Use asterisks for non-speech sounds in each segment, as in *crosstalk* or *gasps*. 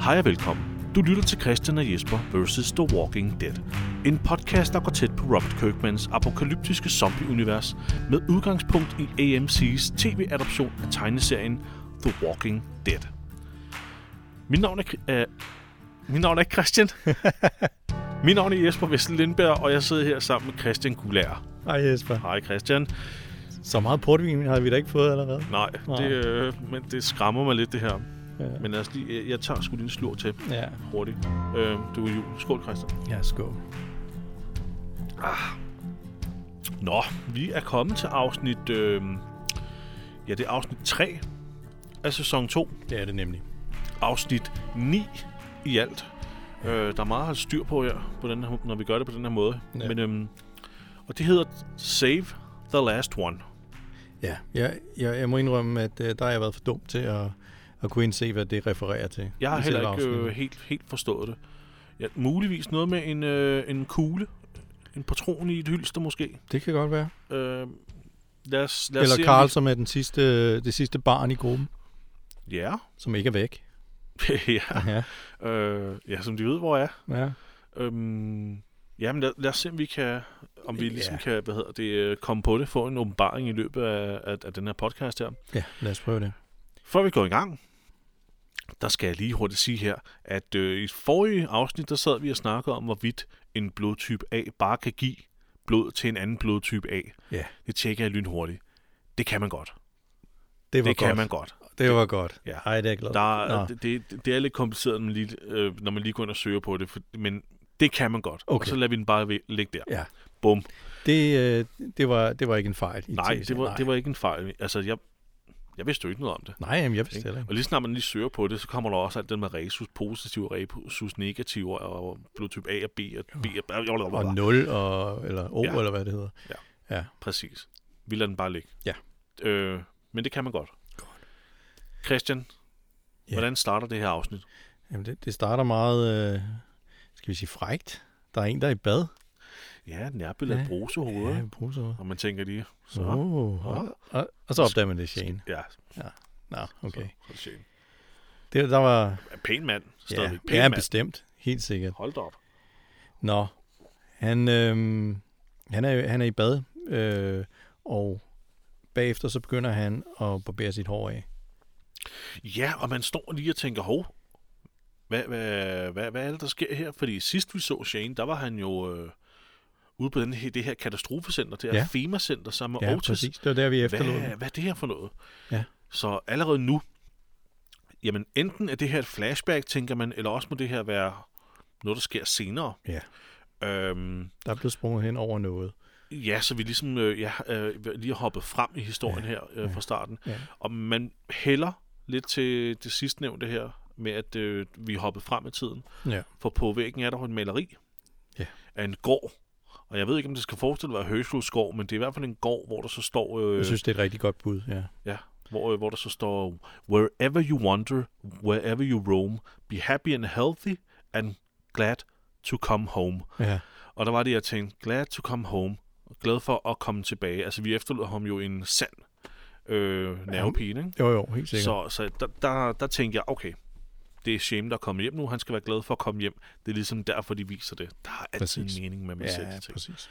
Hej og velkommen. Du lytter til Christian og Jesper vs. The Walking Dead. En podcast, der går tæt på Robert Kirkmans apokalyptiske zombieunivers med udgangspunkt i AMC's tv-adoption af tegneserien The Walking Dead. Mit navn er, Kri- øh, mit navn er ikke *laughs* Christian. Mit navn er Jesper Vessel Lindberg, og jeg sidder her sammen med Christian Gulær. Hej Jesper. Hej Christian. Så meget portvin har vi da ikke fået allerede. Nej, Nej. det, øh, men det skræmmer mig lidt det her. Ja. Men lad os lige, jeg, jeg tager sgu lige en slur til Ja, hurtigt. Øh, du er jul. Skål, Christian. ja skål. Nå, vi er kommet til afsnit... Øh, ja, det er afsnit 3 af sæson 2. Det er det nemlig. Afsnit 9 i alt. Øh, der er meget at holde styr på her, på den her, når vi gør det på den her måde. Ja. Men, øhm, og det hedder Save the Last One. Ja, jeg, jeg, jeg må indrømme, at øh, der har jeg været for dum til at, at kunne indse, hvad det refererer til. Jeg har I heller selve ikke øh, afsnittet. helt, helt forstået det. Ja, muligvis noget med en, øh, en kugle. En patron i et hylster måske. Det kan godt være. Øh, lad os, lad os se, Eller om Karl, som er den sidste, øh, det sidste barn i gruppen, Vi... Ja. *laughs* som ikke er væk. ja. Ja, Øh, ja, som de ved, hvor jeg er. ja. Øhm, jamen lad, lad os se, om vi kan, om vi Ja. ligesom kan, hvad hedder det, øh, komme på det, få en åbenbaring i løbet af, af, af den her podcast her. ja lad os prøve det. Før vi går i gang, der skal jeg lige hurtigt sige her, at øh, i forrige afsnit, der sad vi og snakkede om, hvorvidt en blodtype A bare kan give blod til en anden blodtype A. Ja. Det tjekker jeg lynhurtigt. Det kan man godt. Det Det, var det godt. kan man godt. Det var godt. Ja. Ej, det er jeg glad. Der, Nå. det, det, det er lidt kompliceret, når man lige, øh, når man lige går ind og søger på det, for, men det kan man godt. Og Okay. så lader vi den bare væ- ligge der. Ja. Bum. Det, øh, det, var, det var ikke en fejl. I Nej, tesen. det var, Nej. det var ikke en fejl. Altså, jeg, jeg vidste jo ikke noget om det. Nej, jamen, jeg vidste Ikke? heller ikke. Og lige snart man lige søger på det, så kommer der også alt det med resus positive, resus negative, og blodtype A og B og B og blablabla. Og 0 og, eller O, Ja. ja. eller hvad det hedder. Ja. ja. Præcis. Vi lader den bare ligge. Ja. Øh, men det kan man godt. Christian, Ja. hvordan starter det her afsnit? Jamen, det, det starter meget, øh, skal vi sige, frægt. Der er en, der er i bad. Ja, nærbilledet ja. Ja. brusehoveder. Ja. Ja, bruser. Og man tænker lige, så... Så. Oh, og, og, og så opdager man det er Shane. Ja, Nå, okay. så er det sjældent. Det, der var... Ja, pæn mand. Ja, Stadigvæk. Pæn ja, mand. bestemt. Helt sikkert. Hold da op. Nå, han, øhm, han, er, han er i bad, øh, og bagefter så begynder han at barbere sit hår af. Ja, og man står lige og tænker, hov, hvad, hvad, hvad, hvad er det, der sker her? Fordi sidst vi så Shane, der var han jo øh, ude på den her, det her katastrofecenter, det her ja. Ja. FEMA-center sammen med Ja, Otis. præcis. Det var der, vi efterlod Hvad, ham. hvad er det her for noget? Ja. Så allerede nu, jamen enten er det her et flashback, tænker man, eller også må det her være noget, der sker senere. Ja. Øhm, Der er blevet sprunget hen over noget. ja, så vi ligesom øh, ja, øh, lige har hoppet frem i historien ja. her øh, fra starten. Ja. Og man hælder lidt til det sidstnævnte her, med at øh, vi er hoppet frem i tiden. Ja. For på væggen er der jo et maleri Ja. af en gård. Og jeg ved ikke, om det skal forestille at være Høslos gård, men det er i hvert fald en gård, hvor der så står, øh, Jeg synes, det er et rigtig godt bud, ja. ja, hvor, øh, hvor der så står, Wherever you wander, wherever you roam, be happy and healthy and glad to come home. Ja, Og der var det, jeg tænkte, glad to come home. Glad for at komme tilbage. Altså, vi efterlod ham jo en sand øh, nervepine, ikke? jo, jo, helt sikkert. Så, så der, der, der tænkte jeg, okay, det er Shame, der er kommet hjem nu. Han skal være glad for at komme hjem. Det er ligesom derfor, de viser det. Der er altid Præcis. en mening med, at man ja, ja, ser ting. præcis.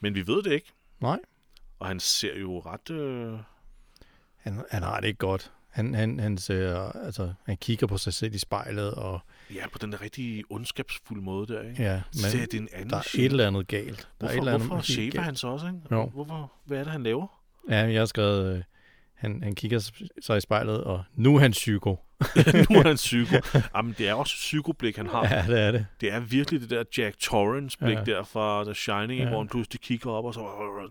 Men vi ved det ikke. Nej, Og han ser jo ret... Øh... han, han har det ikke godt. Han, han, han, ser, altså, han kigger på sig selv i spejlet, og Ja, på den der rigtig ondskabsfulde måde der, ikke? ja, Men, ser men det en anden der er et eller andet galt. Der er et Hvorfor, eller andet hvorfor helt shaver galt. han så også, ikke? Jo. Hvorfor, hvad er det, han *laughs* laver? *laughs* Ja, jeg har skrevet, øh, han, han kigger s- sig i spejlet, og nu er han psyko. nu er han psyko. Jamen, det er også psykoblik, han har. Ja, det er det. Det er virkelig det der Jack Torrance-blik ja. Ja. der fra The Shining, ja. Ja. hvor han pludselig kigger op, og så...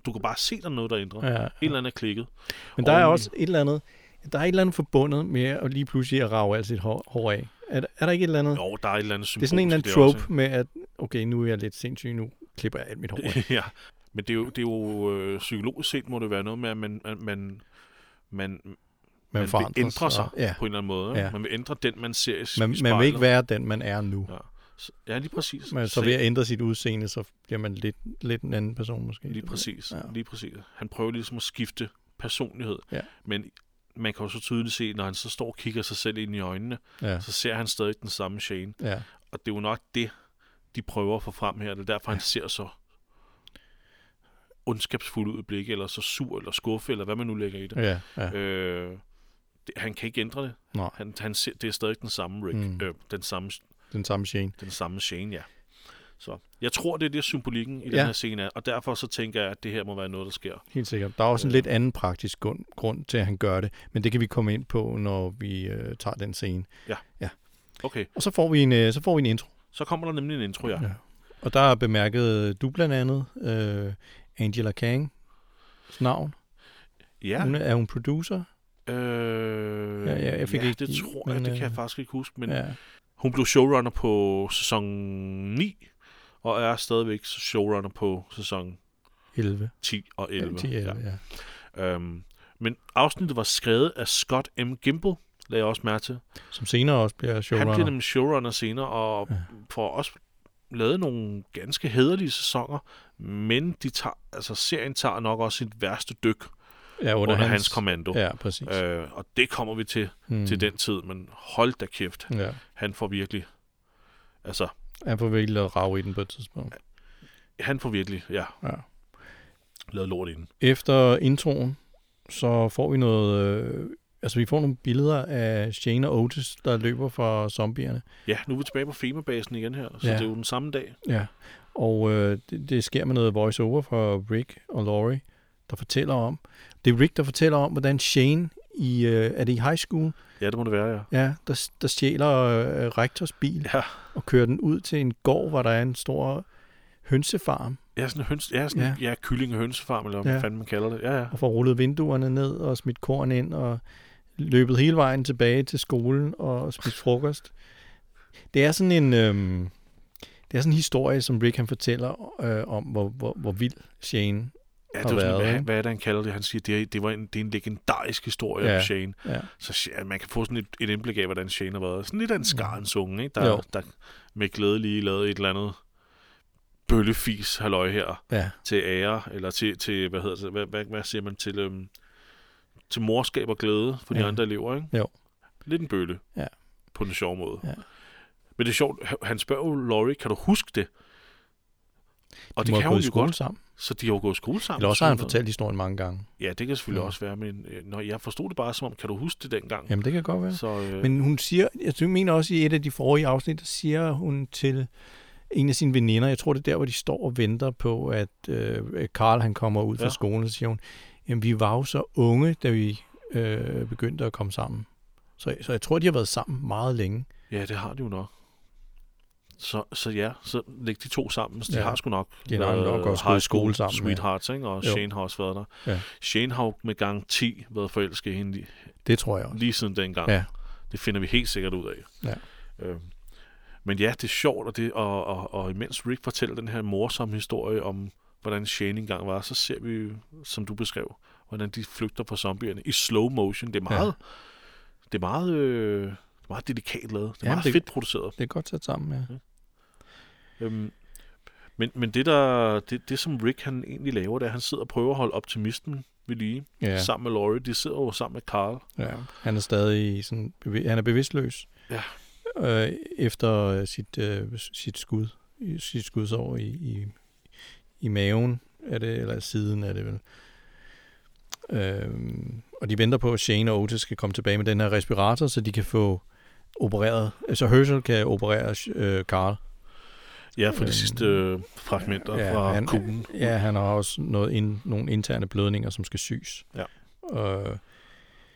Du kan bare se, der er noget, der ændrer. Ja. Et Ja. eller andet er klikket. Men der er Og- også et eller andet, der er et eller andet forbundet med at lige pludselig at rave alt sit hår, hår af. Er, der- er der ikke et eller andet? Jo, der er et eller andet symbol. det er sådan en eller anden til det også, trope med, at okay, nu er jeg lidt sindssyg, nu klipper jeg alt mit hår *laughs* af. ikke? ja, men det er jo, det er jo øh, psykologisk set må det være noget med, at man, at man, man, man, man vil forandrer ændre sig Ja. på en eller anden måde. ikke? Ja. Man vil ændre den, man ser i s- Man, i man vil ikke spejlet. være den, man er nu. Så- Ja, lige præcis. Men så Se, ved at ændre sit udseende, så bliver man lidt, lidt en anden person måske. Lige præcis, ja. Ja. lige præcis. Han prøver ligesom at skifte personlighed. Ja. Men man kan jo så tydeligt se, når han så står og kigger sig selv ind i øjnene, Ja. så ser han stadig den samme Shane. ja. Og det er jo nok det, de prøver at få frem her. Det er derfor, han ser så ondskabsfuld ud i blikket, eller så sur, eller skuffet, eller hvad man nu lægger i det. Ja, ja. Øh, det han kan ikke ændre det. Nej. Han, han ser, det er stadig den samme Rick. Mm. Mm. Øh, den, samme, Den samme Shane. den samme Shane, ja. Så jeg tror, det er det, symbolikken i ja. Ja. den her scene er. Og derfor så tænker jeg, at det her må være noget, der sker. Helt sikkert. Der er også en Øh. lidt anden praktisk grund, grund til, at han gør det, men det kan vi komme ind på, når vi øh, tager den scene. Okay, Og så får vi en, øh, så får vi en intro. så kommer der nemlig en intro, ja. Ja. Og der bemærkede du blandt andet øh, Angela Kang navn. Ja. Ja, Hun er, er hun producer. øh, Ja, ja, jeg fik ja ikke det i- tror men, jeg, det kan jeg øh, faktisk ikke huske. Men Ja. Hun blev showrunner på sæson 9, og er stadigvæk showrunner på sæson 11. 10 og 11. 10, 11 ja. Ja. Øhm, men afsnittet var skrevet af Scott M. Gimple, lagde jeg også mærke til. Som senere også bliver Han showrunner. bliver nemlig showrunner senere, og Ja. ja. får også lavet nogle ganske hederlige sæsoner, men de tager, altså serien tager nok også sit værste dyk under, ja, under, hans, hans kommando. Ja, præcis. Øh, og det kommer vi til, mm. mm. til den tid, men hold da kæft, Ja. han får virkelig, altså, Han får virkelig lavet rav i den på et tidspunkt. han får virkelig, ja, Ja. lavet lort inden. Efter introen, så får vi noget... Øh, altså, vi får nogle billeder af Shane og Otis, der løber fra zombierne. Ja, nu er vi tilbage på Fema-basen igen her, så Ja. ja. det er jo den samme dag. Ja. Og øh, det, det sker med noget voice-over fra Rick og Laurie, der fortæller om... Det er Rick, der fortæller om, hvordan Shane i... Øh, er det i high school? Ja, det må det være, ja. Ja, der, der stjæler øh, rektors bil Ja, og kører den ud til en gård, hvor der er en stor hønsefarm, ja sådan en høns, ja, sådan, ja. ja kylling- og hønsefarm, eller hvad Ja. ja. fanden man kalder det. Ja, ja. og får rullet vinduerne ned og smidt korn ind og løbet hele vejen tilbage til skolen og spist frokost. Det er sådan en øhm, det er sådan en historie, som Rick han fortæller øh, om, hvor, hvor, hvor vild Shane. ja det har er jo sådan, været, hvad, ikke? hvad er det, han kalder det? Han siger, det er, det var en, det er en legendarisk historie Ja. ja. om Shane. Ja, Så Shane- ja, man kan få sådan et, et indblik af, hvordan Shane har været. Sådan lidt af en skarens unge, ikke? Mm. Jo. Der, der med glæde lige lavede et eller andet bøllefis halløj her ja, til ære, eller til, til hvad hedder det, hvad, hvad, hvad siger man, til, øhm, til morskab og glæde for de Ja. ja. andre elever, ikke? Jo. Lidt en bølle. Ja. På den sjove måde. Ja. Men det er sjovt, h- han spørger jo Laurie, kan du huske det? Og de det må kan have hun gået i jo skole godt, sammen. så de har jo gået i skole sammen. Eller også har han Sådan noget. fortalt historien mange gange. Ja, det kan selvfølgelig Ja. ja. også være, men øh, når jeg forstod det bare som om, kan du huske det dengang? Jamen, det kan godt være. Så, øh, Men hun siger, jeg tror- mener også i et af de forrige afsnit, der siger hun til en af sine veninder, jeg tror det er der, hvor de står og venter på, at øh, Karl han kommer ud fra ja. Ja. skolen, så siger hun, jamen vi var jo så unge, da vi øh, begyndte at komme sammen. Så, så jeg tror, de har været sammen meget længe. ja, det har de jo nok. Så, så ja, så læg de to sammen. Så de Ja. ja. har sgu nok De har nok været også high gået i skole school sammen, ja. Sweethearts, ikke? og Jo. Shane har også været der. Ja. Shane har jo med garanti været forelsket i hende lige- Det tror jeg også. lige siden dengang. Ja. Det finder vi helt sikkert ud af. Ja. Øh, men ja, det er sjovt, og, det, og, og, og imens Rick fortæller den her morsomme historie om, hvordan Shane engang var, så ser vi, som du beskrev, hvordan de flygter fra zombierne i slow motion. Det er Ja. meget, ja. det er meget, øh, det er meget delikat lavet. Det er Jamen, ja, meget det- det... fedt produceret. Det er godt sat sammen, ja. Øhm, men, men det, der, det, det, som Rick han egentlig laver, det er, at han sidder og prøver at holde optimismen ved lige, ja. Ja, sammen med Laurie. De sidder jo sammen med Carl. ja. Han er stadig sådan, bevi- han er bevidstløs Ja. øh, efter øh, sit, øh, sit skud, i- sit skudsår i, i, i maven, er det, eller siden er det vel. Øh, og de venter på, at Shane og Otis skal komme tilbage med den her respirator, så de kan få opereret, altså Herschel kan operere øh, Carl. Ja, for Øhm, de sidste øh, fragmenter ja, ja, fra han- han, kuglen. Ja, han har også noget ind, nogle interne blødninger, som skal syes. Ja. Øh,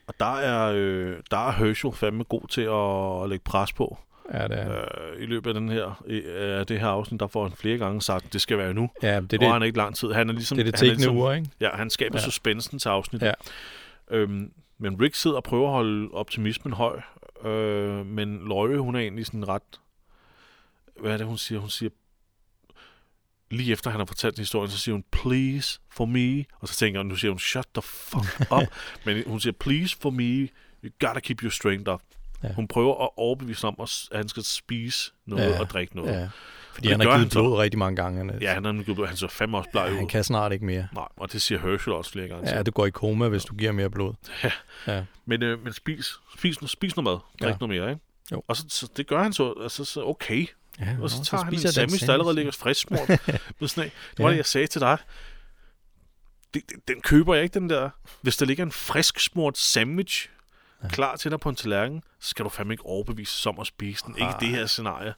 Og der er, øh, der er Herschel fandme god til at, at lægge pres på. ja, det er, Ja. Øh, I løbet af den her, i, øh, det her afsnit, der får han flere gange sagt, det skal være nu. ja, det er Det, det, og han det, er ikke lang tid. Han er ligesom, det, er det han, er tækkende ligesom, ur, ikke? ja, han skaber Ja. ja. suspensen til afsnittet. Ja. Øhm, men Rick sidder og prøver at holde optimismen høj. Øh, men Laurie, hun er egentlig sådan ret... Hvad er det, hun siger? Hun siger... Lige efter han har fortalt historien, så siger hun, please for me. Og så tænker jeg, nu siger *laughs* hun, shut the fuck up. men hun siger, please for me. You gotta keep your strength up. Ja. Ja. Hun prøver at overbevise ham, om, at s- at han skal spise noget Ja, og drikke noget. Ja, Ja. Fordi Og han det har gør givet han så. blod rigtig mange gange. Han, ja han, er, han så fandme også bleg ja, ud. han kan snart ikke mere. Nej, og det siger Herschel også flere gange. Ja, Ja. du går i koma, hvis du giver mere blod. Ja. Men, øh, men spis, spis, no- spis noget mad. Drik Ja. ja. noget mere, ikke? Jo. Og så, så, det gør han så, og så, så okay. ja Og så nå, tager så han en spiser jeg den sandwich, der allerede ligger *laughs* frisksmurt med sådan en. Det var Ja. det, jeg sagde til dig. Det, det, den køber jeg ikke, den der. Hvis der ligger en frisk smurt sandwich Ja. ja. klar til dig på en tallerken, så skal du fandme ikke overbevise om at spise den. Ikke i det her scenarie.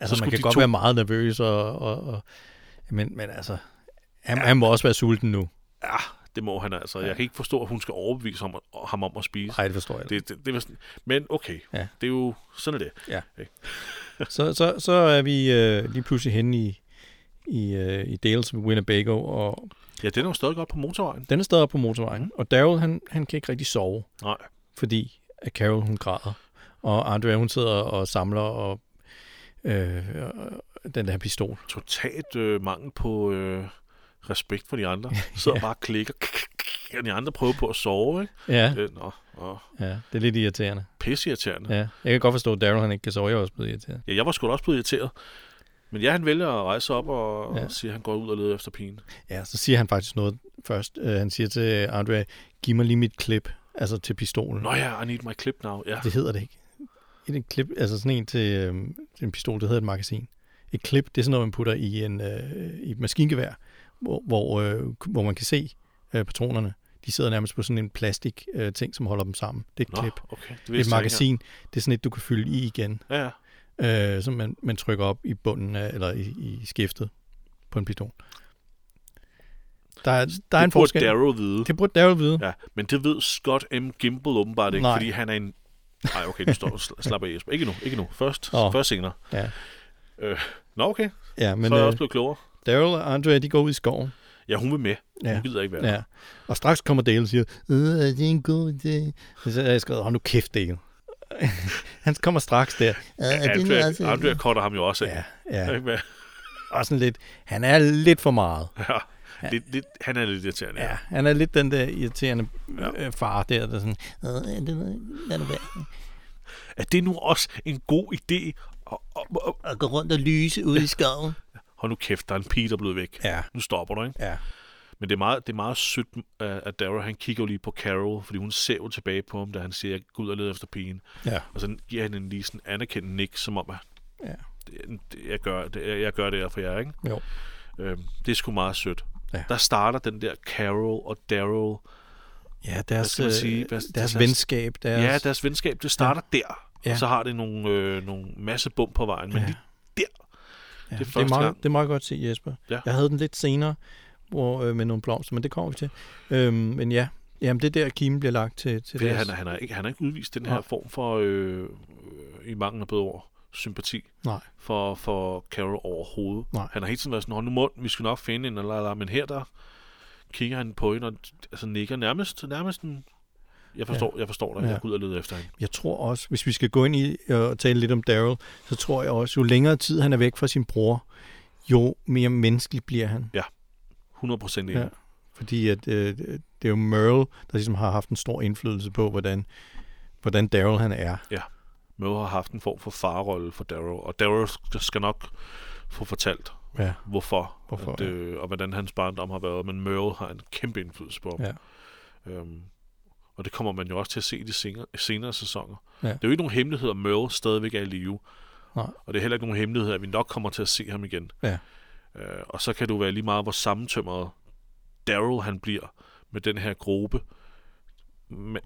Altså, Så skulle man kan de godt to- være meget nervøs, og, og, og men, men altså, han, ja. han må også være sulten nu. Ja, det må han altså. Jeg kan ikke forstå, at hun skal overbevise ham, ham om at spise. Nej, det forstår jeg. Det. Det, det, det var sådan, men okay, Ja. ja. det er jo sådan er det. Så, så, så er vi øh, lige pludselig henne i, i, øh, i Dales ved Winnebago, og Ja, den er jo stadig godt på motorvejen. den er stadig oppe på motorvejen, Mm. og Daryl, han, han kan ikke rigtig sove, Nej, fordi at Carol, hun græder, og Andrea, hun sidder og samler og, øh, og- og den der pistol. totalt øh, mangel på øh, respekt for de *laughs* andre. Sidder ja. bare og klikker, og de andre prøver på at sove. *laughs* Ikke? Ja, Øh, nå, åh, ja, det er lidt irriterende. pisseirriterende. Ja. Ja. Jeg kan godt forstå, at Daryl, han ikke kan sove, jeg er også blevet irriteret. ja, jeg var sgu da også blevet irriteret. Men ja, han vælger at rejse op og Ja. ja. siger, at han går ud og leder efter pigen. Ja, så siger han faktisk noget først. Øh, han siger til Andrea, giv mig lige mit klip, altså til pistolen. Nå ja, I need my clip now. Ja, Det hedder det ikke. Et, et klip, altså sådan en til, øh, til en pistol, det hedder et magasin. Et klip, det er sådan noget, man putter i, en, øh, i et maskingevær, hvor, hvor, øh, hvor man kan se øh, patronerne. De sidder nærmest på sådan en plastik øh, ting, som holder dem sammen. Det er et Nå, klip. okay. Det vidste Det er jeg et ikke magasin. Det er sådan et, du kan fylde i igen, engang. Ja, ja. øh, som man, man trykker op i bunden af, eller i, i skæftet på en pistol. Der er, der er det en burde forskel. Darrow vide. Det burde Daryl vide. Ja, men det ved Scott M. Gimple åbenbart ikke, Nej. Nej. fordi han er en... Nej, okay, du står *laughs* sl- slap af, Jesper. Ikke nu, ikke nu. Først, Åh. oh. først senere. Ja. Øh, nå, okay. Ja, Men, men så er jeg øh, også blevet klogere. Daryl og Andrea, de går ud i skoven. Ja, hun vil med. Ja. Ja. Hun gider ikke være. Ja. Ja. Og straks kommer Dale og siger, Øh, det er en god idé. Og Så har jeg skrevet, hold nu kæft, Dale. *laughs* Han kommer straks der. "Øh, det er Andrea, altså- Andrea cutter ham jo også af. Ja, Ja. ja. Ikke med? Og sådan lidt, han er lidt for meget. Ja. Lidt, lidt, han er lidt irriterende. Ja, Ja. han er lidt den der irriterende Ja. øh, far der, der sådan, "Øh, det er- lad nu være. Er det nu også en god idé? Og, og, og, Og gå rundt og lyse ude i skoven. hold nu kæft, der er en pige, der er blevet væk. Ja, Nu stopper du, ikke? ja, Men det er meget, det er meget sødt, øh, at Dara, han kigger jo lige på Carol, fordi hun ser jo tilbage på ham, da han siger, gå ud og lede efter pigen. ja, Og så giver han en lige sådan anerkendt nik, som om, at ja. det, det- jeg, gør, det, jeg- jeg gør det her for jer, ikke? Jo. Øhm, det er sgu meget sødt. Ja. Ja. Der starter den der Carol og Daryl. Ja, deres, skal man øh, sige? Hvad- deres deres- venskab, deres... Ja, deres venskab, det starter ja. der. Ja. Ja. Så har det nogle, øh, nogle masse bump på vejen. Men Ja. ja. lige der, Ja, Det er det, er første meget, gang. det er meget godt set, Jesper. Ja. Jeg havde den lidt senere hvor, øh, med nogle blomster, men det kommer vi til. Øhm, men ja, Jamen, det er der, kimen bliver lagt til, til det, deres- han, er- han, er ikke, han er ikke udvist den her Nej. form for, øh, øh, i mange af bedre ord, sympati Nej, for, for Carol overhovedet. Nej. Han har hele tiden været sådan, hold nu mund, vi skal nok finde en, eller, eller, men her der kigger han på hende og altså, nikker nærmest, nærmest en, jeg forstår, ja. jeg forstår dig, Ja. ja. jeg går ud og leder efter hende. jeg tror også, hvis vi skal gå ind i øh, og tale lidt om Daryl, så tror jeg også, jo længere tid han er væk fra sin bror, jo mere menneskelig bliver han. 100% enig. Ja. Ja. Fordi at, øh, det er jo Merle, der ligesom har haft en stor indflydelse på, hvordan, hvordan Daryl han er. Mø har haft en form for farrolle for Darrow, og Darrow sk- skal nok få fortalt, Ja. hvorfor, Hvorfor, at, øh, og hvordan hans barndom har været, men Merle har en kæmpe indflydelse på ham. Ja. Øhm, og det kommer man jo også til at se i de senere, senere sæsoner. Ja. Det er jo ikke nogen hemmelighed, at Merle stadigvæk er i live. Nej. Og det er heller ikke nogen hemmelighed, at vi nok kommer til at se ham igen. Ja. Øh, og så kan du være lige meget, hvor sammentømret Daryl han bliver med den her gruppe. Men,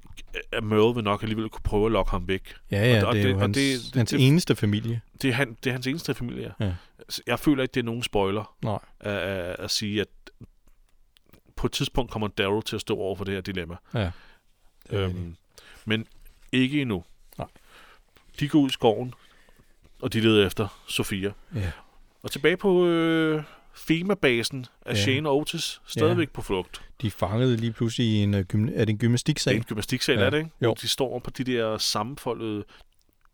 øh, Merle vil nok alligevel kunne prøve at lokke ham væk. Ja, ja, Og- og det er det- jo og hans, det- det- hans det- eneste familie. Det er, han, det er hans eneste familie. Ja. Altså, Jeg føler ikke, det er nogen spoiler Nej. at, at, at sige, at på et tidspunkt kommer Daryl til at stå over for det her dilemma. Ja. Øhm, men ikke endnu. Nej. De går ud i skoven, og de leder efter Sofia. Ja. Og tilbage på øh, Fema-basen er Ja. ja. Shane og Otis stadigvæk ja. på flugt. De fangede lige pludselig i en, øh, gymna- er det en Det er gymnastiksal. en gymnastiksal, Ja. ja. er det ikke? Jo. Jo. De står på de der sammenfoldede...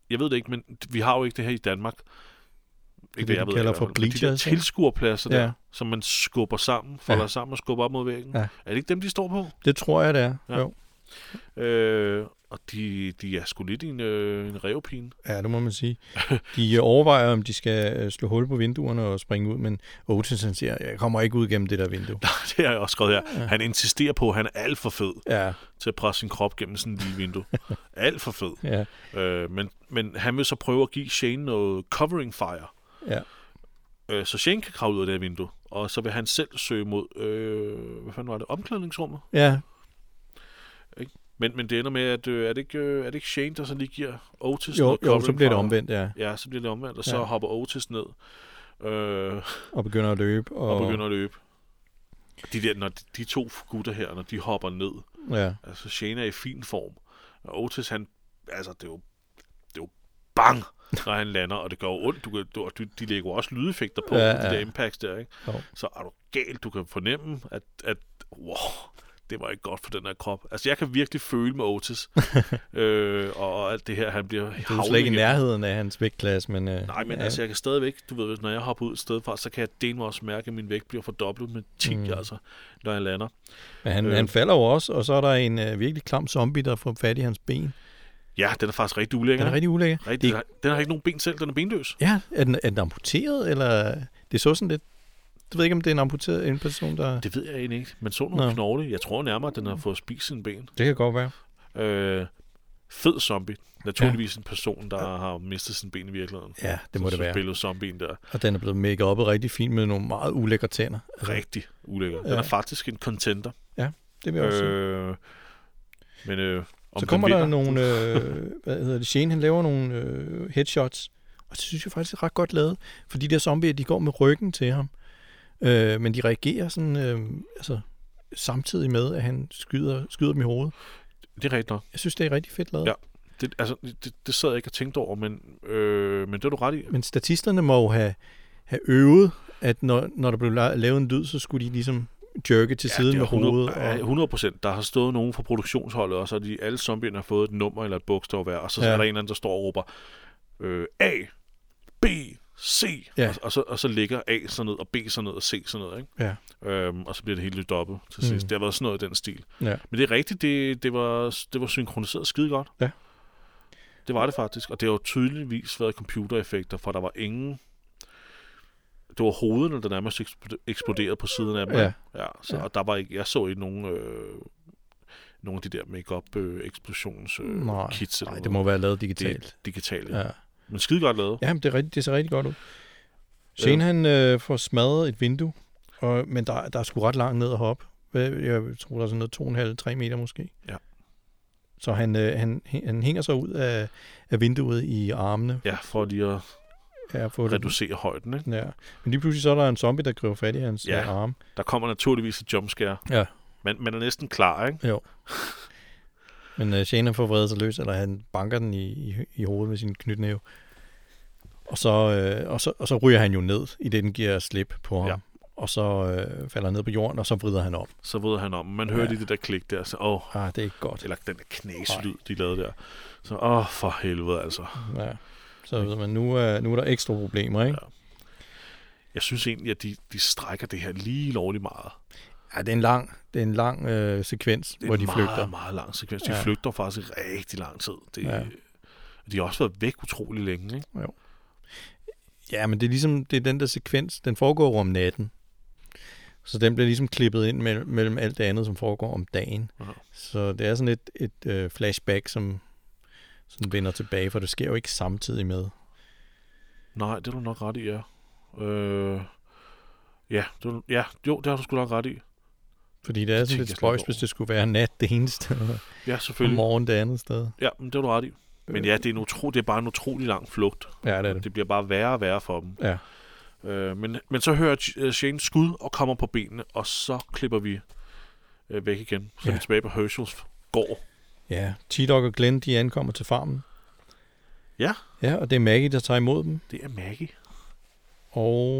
Jeg ved det ikke, men vi har jo ikke det her i Danmark. det, hvad de jeg ved, kalder i hvert for fald. Men bleachers, De ikke? der tilskuerpladser Ja. der, som man skubber sammen, folder Ja. ja. sammen og skubber op mod væggen. Ja. Ja. Er det ikke dem, de står på? Det tror jeg, det er. Ja. Ja. Jo. Øh, Og de, de er sgu lidt i en, øh, en revpine. *laughs* Ja, det må man sige. De øh, overvejer, om de skal øh, slå hul på vinduerne og springe ud, men Otis han siger, jeg kommer ikke ud gennem det der vindue. det har jeg også skrevet her. Han insisterer på, at han er alt for fed Ja, til at presse sin krop gennem sådan et lille *laughs* vindue. alt for fed. ja, Øh, men, men han vil så prøve at give Shane noget covering fire. ja. Øh, så Shane kan kravle ud af det her vindue. Og så vil han selv søge mod, øh, hvad fanden var det, omklædningsrummet? ja. Men, men det ender med, at øh, er, det ikke, øh, er det ikke Shane, der så lige giver Otis Jo, noget jo, så covering bliver det fire? omvendt, ja. Ja, så bliver det omvendt, og så Ja. hopper Otis ned øh, Og begynder at løbe. Og, og begynder at løbe. De, der, når de, de to gutter her, når de hopper ned, Ja, altså Shane er i fin form, og Otis han, altså det er jo, det er jo bang, når han lander, og det gør jo ondt, du kan, du, og de, de lægger jo også lydeffekter på, Ja, ja, ja. de ja. der impacts der, ikke? Jo. Så er du galt, du kan fornemme, at, at wow, det var ikke godt for den her krop. Altså, jeg kan virkelig føle med *laughs* Otis, øh, og, og alt det her, han bliver det er jo slet ikke i igennem. nærheden af hans vægtklasse, men... Øh, Nej, men ja, altså, jeg kan stadigvæk, du ved, når jeg hopper ud et sted fra, så kan jeg dele også mærke, at min vægt bliver fordoblet med 10, Mm. mm. altså, når jeg lander. Men han, Øh. øh. han falder jo også, og så er der en øh, virkelig klam zombie, der får fat i hans ben. Ja, den er faktisk rigtig Den ulækker. er Den, rigtig ulækker. rigtig, den, har, den har ikke nogen ben selv, den er benløs. Ja, er den, er den amputeret, eller... Det så sådan lidt... Du ved ikke, om det er en amputeret en person, der... Det, Det ved jeg egentlig ikke. Man så nogle Nå. knogle. Jeg tror nærmere, at den har fået spist sine ben. det kan godt være. Øh, fed zombie. Naturligvis en person, der har mistet sine ben i virkeligheden. Ja, det må så, det så være. billedet zombien der. Og den er blevet make oppet rigtig fint med nogle meget ulækre tænder. Altså, Rigtig ulækker. Den Ja. er faktisk en contender. Det vil jeg også sige. Øh, men øh, om Så den kommer der vinder- nogle, øh, hvad hedder det, Shane, han laver nogle øh, headshots, og det synes jeg faktisk er ret godt lavet, for de der zombier, de går med ryggen til ham, øh, men de reagerer sådan, øh, altså, samtidig med, at han skyder, skyder dem i hovedet. Det er rigtigt nok. Jeg synes, det er rigtig fedt lavet. Ja. Det, altså, det, det sad jeg ikke og tænkte over, men, øh, men det er du ret i. Men statisterne må jo have, have øvet, at når, når der blev la- lavet en lyd, så skulle de ligesom jerke til ja, siden det er med 100 hovedet. ja, Og, 100 procent. Der har stået nogen fra produktionsholdet, og så har de alle zombierne har fået et nummer eller et bogstav hver, og så, ja. Ja. er der en eller anden, der står og råber øh, A, B, C, Ja. ja. og, og, så, og så ligger A sådan ned, og B sådan ned, og C sådan ned, ikke? ja, Øhm, og så bliver det hele lidt dobbelt til sidst. Mm. Det har været sådan noget i den stil. ja. Men det er rigtigt, det, det, var, det var synkroniseret skide godt. Ja. Det var det faktisk, og det har jo tydeligvis været computereffekter, for der var ingen... Det var hovederne, der nærmest ekspl- eksploderede på siden af dem. Ja. ja så, Ja. Og der var ikke, jeg så ikke nogen, øh, nogen af de der make-up øh, eksplosions øh, Nej, kits. eller Nej, det noget. må være det lavet digitalt. digitalt. Ja. Ja. Men skide godt lavet. Jamen, det, er rigtig, det ser rigtig godt ud. Shane, han øh, får smadret et vindue, og, men der, der er sgu ret langt ned at hoppe. Hvad- Jeg tror, der er sådan noget 2,5-3 meter måske. Ja. Så han, øh, han, han hænger sig ud af, af vinduet i armene. Ja, for lige at Ja, for at- reducere højden. Ikke? Ja. Men lige pludselig så er der en zombie, der griber fat i hans Ja. ja. arme. Der kommer naturligvis et jumpscare. Ja. Man, man er næsten klar, ikke? Men øh, Shane han får vredet sig løs, eller han banker den i, i, i hovedet med sin knytnæve. Og så, øh, og, så, og så ryger han jo ned, i det den giver slip på ham. Ja. Ja. Og så øh, falder han ned på jorden, og så vrider han op. Så ved han om. Man hører Ja. lige det der klik der, så åh, oh, Ah, det er ikke godt. Eller den der knæslyd, de lavede der. Så, åh, for helvede altså. Ja. Så ved man, nu er, nu er der ekstra problemer, ikke? Jeg synes egentlig, at de, de strækker det her lige lovligt meget. Ja, det er en lang, det er en lang øh, sekvens, Det er hvor de en meget, flygter. meget lang sekvens. De Ja. ja. flygter faktisk i rigtig lang tid. Det, Ja. ja. De har også været væk utrolig længe, ikke? Ja, men det er ligesom, det er den der sekvens, den foregår jo om natten. Så den bliver ligesom klippet ind mellem, mellem alt det andet, som foregår om dagen. Ja. Så det er sådan et, et øh, flashback, som, som vender tilbage, for det sker jo ikke samtidig med. Nej, det er du nok ret i, ja. Øh, ja, det er, du- ja, jo, det har du sgu nok ret i. Fordi det er Det tænkte sådan lidt jeg slet ikke spøjs, over. hvis det skulle være nat det ene sted, Ja, og selvfølgelig. morgen det andet sted. Ja, men det har du ret i. Men ja, det er, en utro, det er bare en utrolig lang flugt. Ja, det er det. Det bliver bare værre og værre for dem. Ja. Øh, men, men så hører J- øh, Shane skud og kommer på benene, og så klipper vi øh, væk igen. Så ja. er Ja. vi tilbage på Herschels gård. Ja, T-Dog og Glenn, de ankommer til farmen. Ja. Ja, og det er Maggie, der tager imod dem. Det er Maggie. Og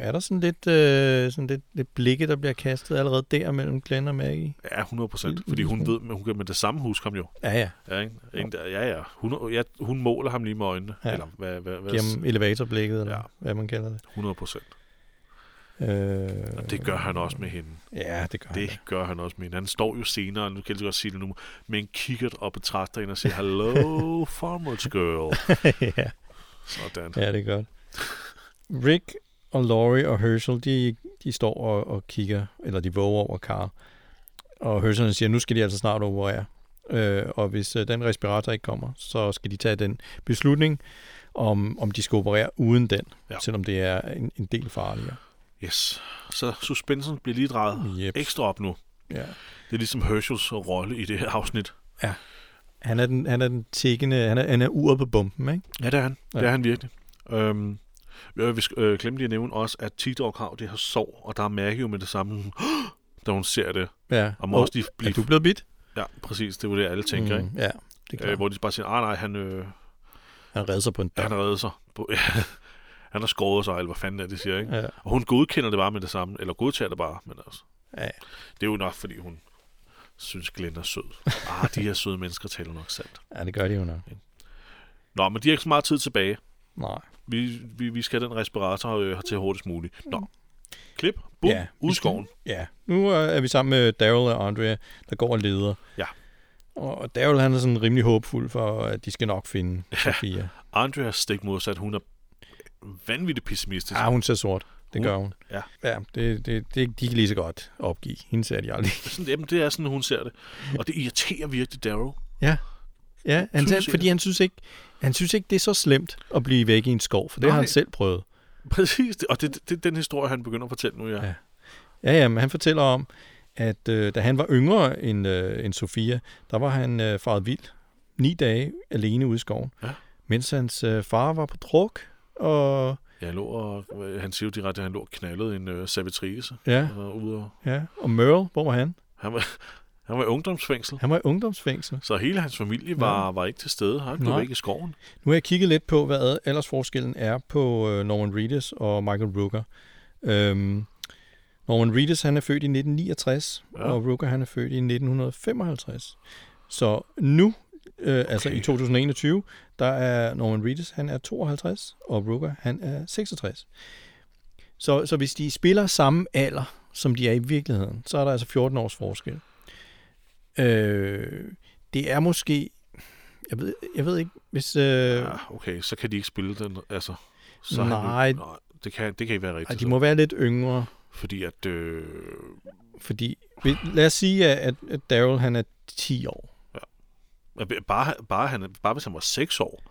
er der sådan lidt, øh, sådan lidt, lidt blikke, der bliver kastet allerede der mellem Glenn og Maggie? Ja, 100 procent. Mm, Fordi hun mm. ved, men hun kan med det samme huske ham jo. Ja, ja. Ja, ikke? Ikke der- ja. ja. Hun, ja, hun måler ham lige med øjnene. Ja. Ja. Eller hvad, hvad, hvad Gennem elevatorblikket, eller Ja. hvad man kalder det. 100 procent. Øh, Og det gør han også med hende. ja, det gør det. han. Det gør han også med hende. Han står jo senere, nu kan jeg lige så godt sige det nu, med en kikkert og betragter hende og siger, *laughs* Hello, farmer's girl. ja. Sådan. ja, det er godt. Rick og Laurie og Herschel, de, de står og, og kigger, eller de våger over Carl. Og Herschel han siger, nu skal de altså snart operere. Øh, og hvis øh, den respirator ikke kommer, så skal de tage den beslutning, om, om de skal operere uden den, Ja. ja. selvom det er en, en del farligere. Yes. Så suspensen bliver lige drejet Yep. ekstra op nu. Ja. Det er ligesom Herschels rolle i det her afsnit. Han er den, han er den tikkende, han er, han er uret på bomben, ikke? Ja, det er han. Ja. Det Ja. er han virkelig. Øhm, jeg vil øh, glemme lige at nævne også, at T-Dog har det her sår, og der er Maggie jo med det samme, *gasps* da hun ser det. Ja. Og må Og- også lige blive... Er du blevet bidt? Ja, præcis. Det er jo det, alle tænker, mm, Mm, ja, det er ikke? Øh, klart. hvor de bare siger, nej, nej, han, øh, Han redder sig på en han dør. har reddet sig. På, *laughs* han har skåret sig, eller hvad fanden er det, de siger, ikke? Ja, Og hun godkender det bare med det samme, eller godtager det bare, men altså, ja. det er jo nok, fordi hun synes, Glenn er sød. Ah, de her søde mennesker taler nok sandt. ja, det gør de jo nok. Nå, men de har ikke så meget tid tilbage. Nej. Vi, vi, vi skal have den respirator øh, til hurtigst muligt. Nå. Klip. Bum. Ja, Ja. ud i skoven. *laughs* Ja, nu øh, er vi sammen med Daryl og Andrea, der går og leder. Ja. Og og Daryl han er sådan rimelig håbfuld for, at de skal nok finde Sofia. Andrea er stik modsat. Hun er vanvittigt pessimistisk. Ah, hun ser sort. Det Hun- gør hun. ja. ja det, det, det, de kan lige så godt opgive. Hende ser de aldrig. *laughs* Sådan, jamen, det er sådan, hun ser det. Og det irriterer virkelig Daryl. *laughs* Ja, han, Synes synes, jeg. fordi han synes, ikke, han synes ikke, det er så slemt at blive væk i en skov, for det har Nej. han selv prøvet. Præcis. det. Og det, det, det er den historie, han begynder at fortælle nu, ja. Ja. Ja, ja, men han fortæller om, at øh, da han var yngre end, øh, end Sofia, der var han øh, faret vild ni dage alene ude i skoven, Ja. mens hans øh, far var på druk, og ja han, lå og, øh, han siger jo direkte, at han lå og knaldede en øh, servitrice. ja, Og, ude og, ja, og Merle, hvor var han? han, var, *laughs* han var i ungdomsfængsel. Han var i ungdomsfængsel. Så hele hans familie var, var ikke til stede. Han blev Nej. væk i skoven. Nu har jeg kigget lidt på, hvad ad- aldersforskellen er på øh, Norman Reedus og Michael Rooker. Øhm, Norman Reedus han er født i 1969, Ja. ja. og Rooker han er født i 1955. Så nu, øh, okay. altså Okay. i 2021, der er Norman Reedus han er 52, og Rooker han er 66. Så, så hvis de spiller samme alder, som de er i virkeligheden, så er der altså 14 års forskel. Øh, det er måske... Jeg ved, jeg ved ikke, hvis... Øh, ja, Ja, okay, så kan de ikke spille den, altså. Så er Nej. Han, jo- nej det, kan, det kan ikke være Ej, rigtigt. de må være lidt yngre, Fordi at... Øh, fordi vi- lad os sige, at, at- at Daryl han er 10 år. bare, bare, han, bare hvis han var 6 år,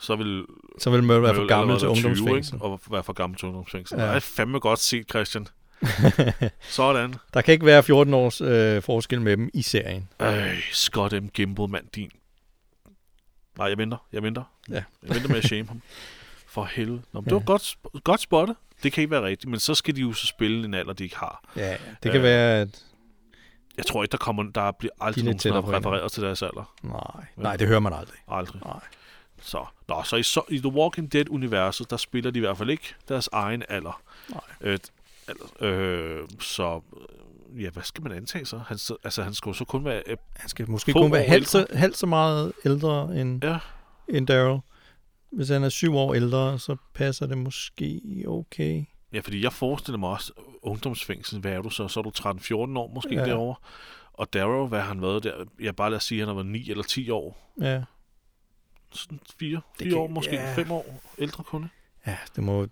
så ville Så vil Mørk være for Mølle gammel allerede til være 20, ungdomsfængsel. ikke? Og være for gammel til ungdomsfængsel. Ja. Ja. Det er fandme godt set, *laughs* Christian. Sådan. Der kan ikke være 14 års øh, forskel med dem i serien. Øj, Scott M. Gimble, mand din. Nej, jeg venter. Jeg venter. Ja. Jeg venter med at shame *laughs* ham. For helvede. Nå, men ja. det Ja. var godt, sp- godt spottet. Det kan ikke være rigtigt, men så skal de jo så spille en alder, de ikke har. Ja, det kan Øh, være, at... Jeg tror ikke, der kommer, der bliver aldrig lidt nogen, der tættere på hinanden. refereret til deres alder. Nej, Ja. nej, det hører man aldrig. Aldrig. Nej. Så, nå, så i, så i The Walking Dead-universet, der spiller de i hvert fald ikke deres egen alder. Nej. Øh, al- øh, så, øh, ja, hvad skal man antage så? Han, s- altså, han skulle så kun være... Øh, Han skal måske Få kun år være halvt så, halvt så meget ældre end, Ja. ja. end Daryl. Hvis han er syv år ældre, så passer det måske okay. ja, fordi jeg forestiller mig også, øh, ungdomsfængsel, hvad er du så? Så er du 13-14 år måske ja. Ja. derovre. Og Darrow, hvad har han været der? Jeg bare lad os sige, at han har været 9 eller 10 år. Ja, Sådan 4, 4 kan- år måske, ja. 5 år ældre kunde. ja det, må,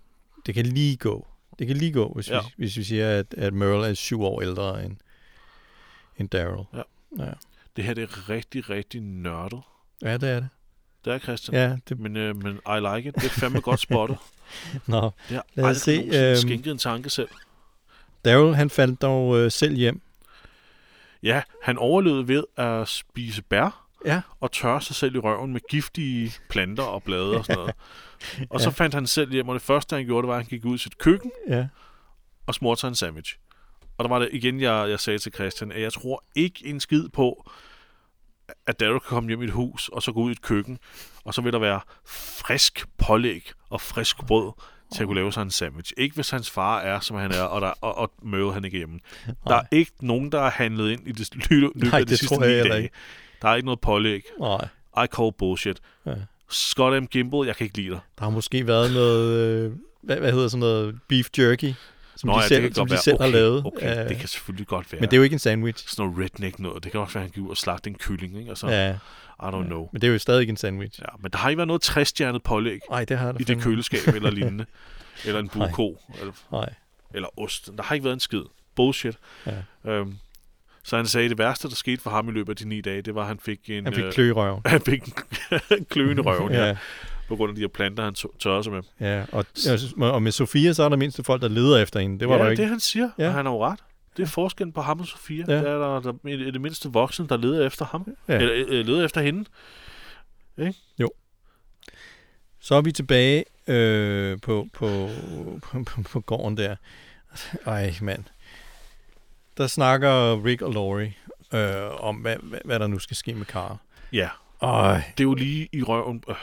det kan lige gå. Det kan lige gå, hvis, Ja. ja. vi, hvis vi siger, at, at Merle er syv år ældre end, end Daryl. Ja. ja. Det her, det er rigtig, rigtig nørdet. Ja, det er det. Det er Christian. Ja. Ja, det, Men, øh, men I like it. Det er fandme godt spottet. nå. Det har Lad os se, aldrig nogensinde øhm, skænket en tanke selv. Daryl, han faldt dog øh, selv hjem. Ja, han overlevede ved at spise bær Ja. og tørre sig selv i røven med giftige planter og blade og sådan *laughs* noget. Og så Ja. fandt han selv hjem, og det første, han gjorde, det var, at han gik ud i sit køkken Ja, og smurte sig en sandwich. Og der var det igen, jeg, jeg sagde til Christian, at jeg tror ikke en skid på, at Daryl kan komme hjem i et hus, og så gå ud i et køkken, og så vil der være frisk pålæg og frisk brød til at kunne lave sig en sandwich. Ikke hvis hans far er, som han er, og, der, og, og møder han ikke hjemme. Der er ikke nogen, der har handlet ind i det lø- løbet Nej, af de det sidste tror jeg ni heller dage. ikke. Der er ikke noget pålæg. nej. I call bullshit. Ja. Scott M. Gimble, jeg kan ikke lide dig. Der har måske været noget, øh, hvad, hvad hedder sådan noget, beef jerky. som de selv, som de selv okay, har lavet. Okay, Øh, det kan selvfølgelig godt være. Men det er jo ikke en sandwich. sådan noget redneck noget. Det kan også være, at han gik ud og slagte en kylling, ikke? Og så, Ja, I don't know. men det er jo stadig ikke en sandwich. Ja, men der har ikke været noget træstjernet pålæg Nej, det har der i det fandme- køleskab *laughs* eller lignende. eller en Nej. buko, eller, Nej. eller ost. Der har ikke været en skid. Bullshit. Ja. Øhm, så han sagde, at det værste, der skete for ham i løbet af de ni dage, det var, at han fik en... Han øh, fik klø i røven. han fik en *laughs* kløende røven, ja. ja. på grund af de her planter, han tør- tørrede sig med. ja. Og, og- og med Sofia, så er der mindst folk, der leder efter hende. Det var ja, der jo ikke. det han siger, ja. Ja. og han har jo ret. Det er forskellen på ham og Sofia. Ja. Ja. Der er der, der i det mindste voksne, der leder efter ham. Ja. Ja. Eller øh, leder efter hende. Så er vi tilbage øh, på, på, på, på, på gården der. Ej, mand. Der snakker Rick og Laurie øh, om, hvad, hvad, hvad der nu skal ske med Carl. Ja, Ej, det er jo lige i røven... Øh,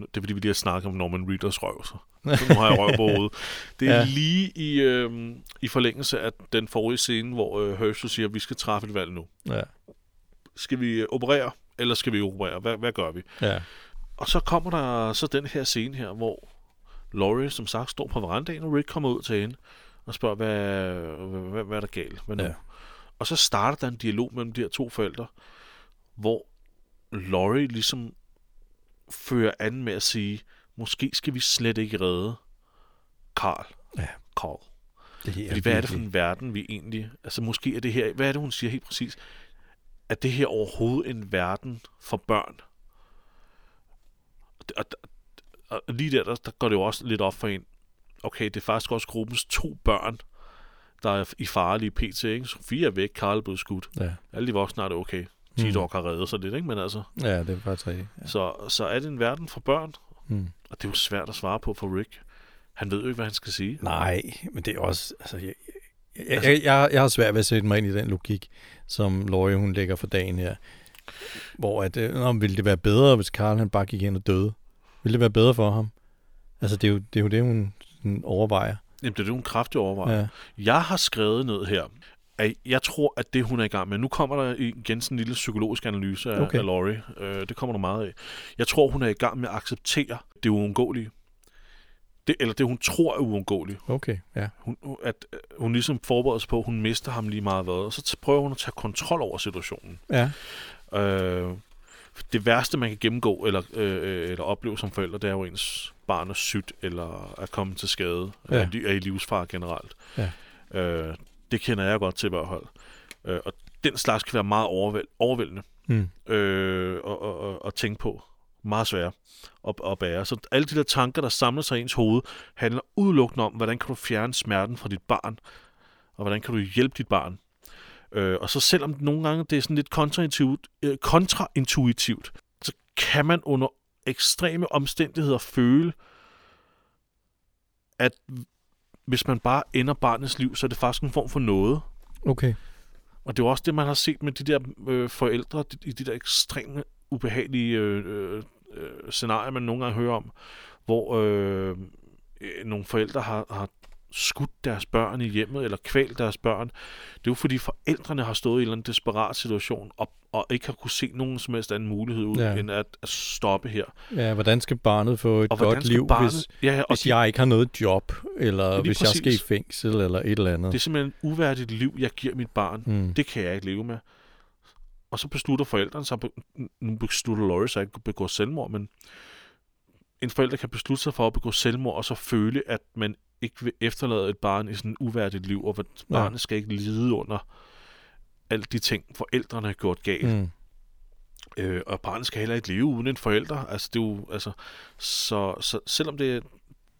det er fordi, vi lige har snakket om Norman Reeders røv, så. så nu har jeg røv på hovedet. Det er Ja. ja. lige i, øh, i forlængelse af den forrige scene, hvor øh, Herschel siger, at vi skal træffe et valg nu. ja, Skal vi øh, operere, eller skal vi ikke operere? Hvad, hvad gør vi? ja, Og så kommer der så den her scene her, hvor Laurie som sagt står på verandaen, og Rick kommer ud til hende og spørger, hvad, hvad, hvad, hvad er der galt? Hvad nu? Ja. Ja. Og så starter der en dialog mellem de her to forældre, hvor Laurie ligesom fører an med at sige, måske skal vi slet ikke redde Carl. Ja. Carl. Det Fordi hvad er det for en verden, vi egentlig... Altså måske er det her... Hvad er det, hun siger helt præcis? Er det her overhovedet en verden for børn? Og, og, og lige der, der, der går det jo også lidt op for en. Okay, det er faktisk også gruppens to børn, der er i fare lige pt. Ikke? Sofie er væk, Karl er blevet skudt. Ja, Alle de voksne er det okay. Tidok har reddet sig lidt, ikke? Men altså, ja det er faktisk rigtigt. Mm. Ja. ja. så, så er det en verden for børn? Hmm. Og det er jo svært at svare på for Rick. Han ved jo ikke, hvad han skal sige. Nej, men det er også... Altså, jeg, jeg, Altså- jeg, jeg, jeg har svært ved at sætte mig ind i den logik, som Laurie hun lægger for dagen her. Hvor at, øh, nå, men ville det være bedre, hvis Karl han bare gik ind og døde? Ville det være bedre for ham? Altså, det er jo det, er jo det hun sådan, overvejer. Jamen, det er jo en kraftig overvejelse. Ja. Jeg har skrevet ned her, at jeg tror, at det, hun er i gang med... Nu kommer der igen sådan en lille psykologisk analyse af, Okay. okay. af Laurie. Øh, det kommer der meget af. Jeg tror, hun er i gang med at acceptere det uundgåelige. Det, eller det, hun tror er uundgåeligt. Okay, ja. Hun, at øh, hun ligesom forbereder sig på, at hun mister ham lige meget hvad. Og så t- prøver hun at tage kontrol over situationen. Ja, Øh, det værste, man kan gennemgå eller, øh, eller opleve som forældre, det er jo ens barn er sygt, eller er kommet til skade, Ja. ja. er, li- er i livsfar generelt. Ja. Øh, det kender jeg godt til i hvert fald. Øh, og den slags kan være meget overvæld, overvældende mm. øh, og, og, og, at tænke på. Meget svære at, at bære. Så alle de der tanker, der samler sig i ens hoved, handler udelukkende om, hvordan kan du fjerne smerten fra dit barn, og hvordan kan du hjælpe dit barn. Øh, og så selvom nogle gange det er sådan lidt kontraintuitivt, øh, kontraintuitivt, så kan man under ekstreme omstændigheder føle, at hvis man bare ender barnets liv, så er det faktisk en form for noget. okay. Og det er jo også det, man har set med de der øh, forældre de, i de der ekstreme ubehagelige øh, øh, øh, scenarier, man nogle gange hører om, hvor øh, øh, nogle forældre har, har skudt deres børn i hjemmet, eller kvalt deres børn. Det er jo fordi forældrene har stået i en eller anden desperat situation, og, og ikke har kunne se nogen som helst anden mulighed ud, Ja. ja. end at, at stoppe her. Ja, hvordan skal barnet få et Og hvordan godt skal liv, barnet... hvis, ja, ja, og hvis de, jeg ikke har noget job, eller Lige hvis jeg skal i præcis. fængsel, eller et eller andet? det er simpelthen et uværdigt liv, jeg giver mit barn. mm. Det kan jeg ikke leve med. Og så beslutter forældrene sig, nu beslutter Laurie sig ikke at begå selvmord, men en forælder kan beslutte sig for at begå selvmord, og så føle, at man ikke vil efterlade et barn i sådan et uværdigt liv, og at Nej. barnet skal ikke lide under alle de ting, forældrene har gjort galt. Mm. Mm. Øh, og barnet skal heller ikke leve uden en forælder. Altså, det er jo, altså, så, så selvom det,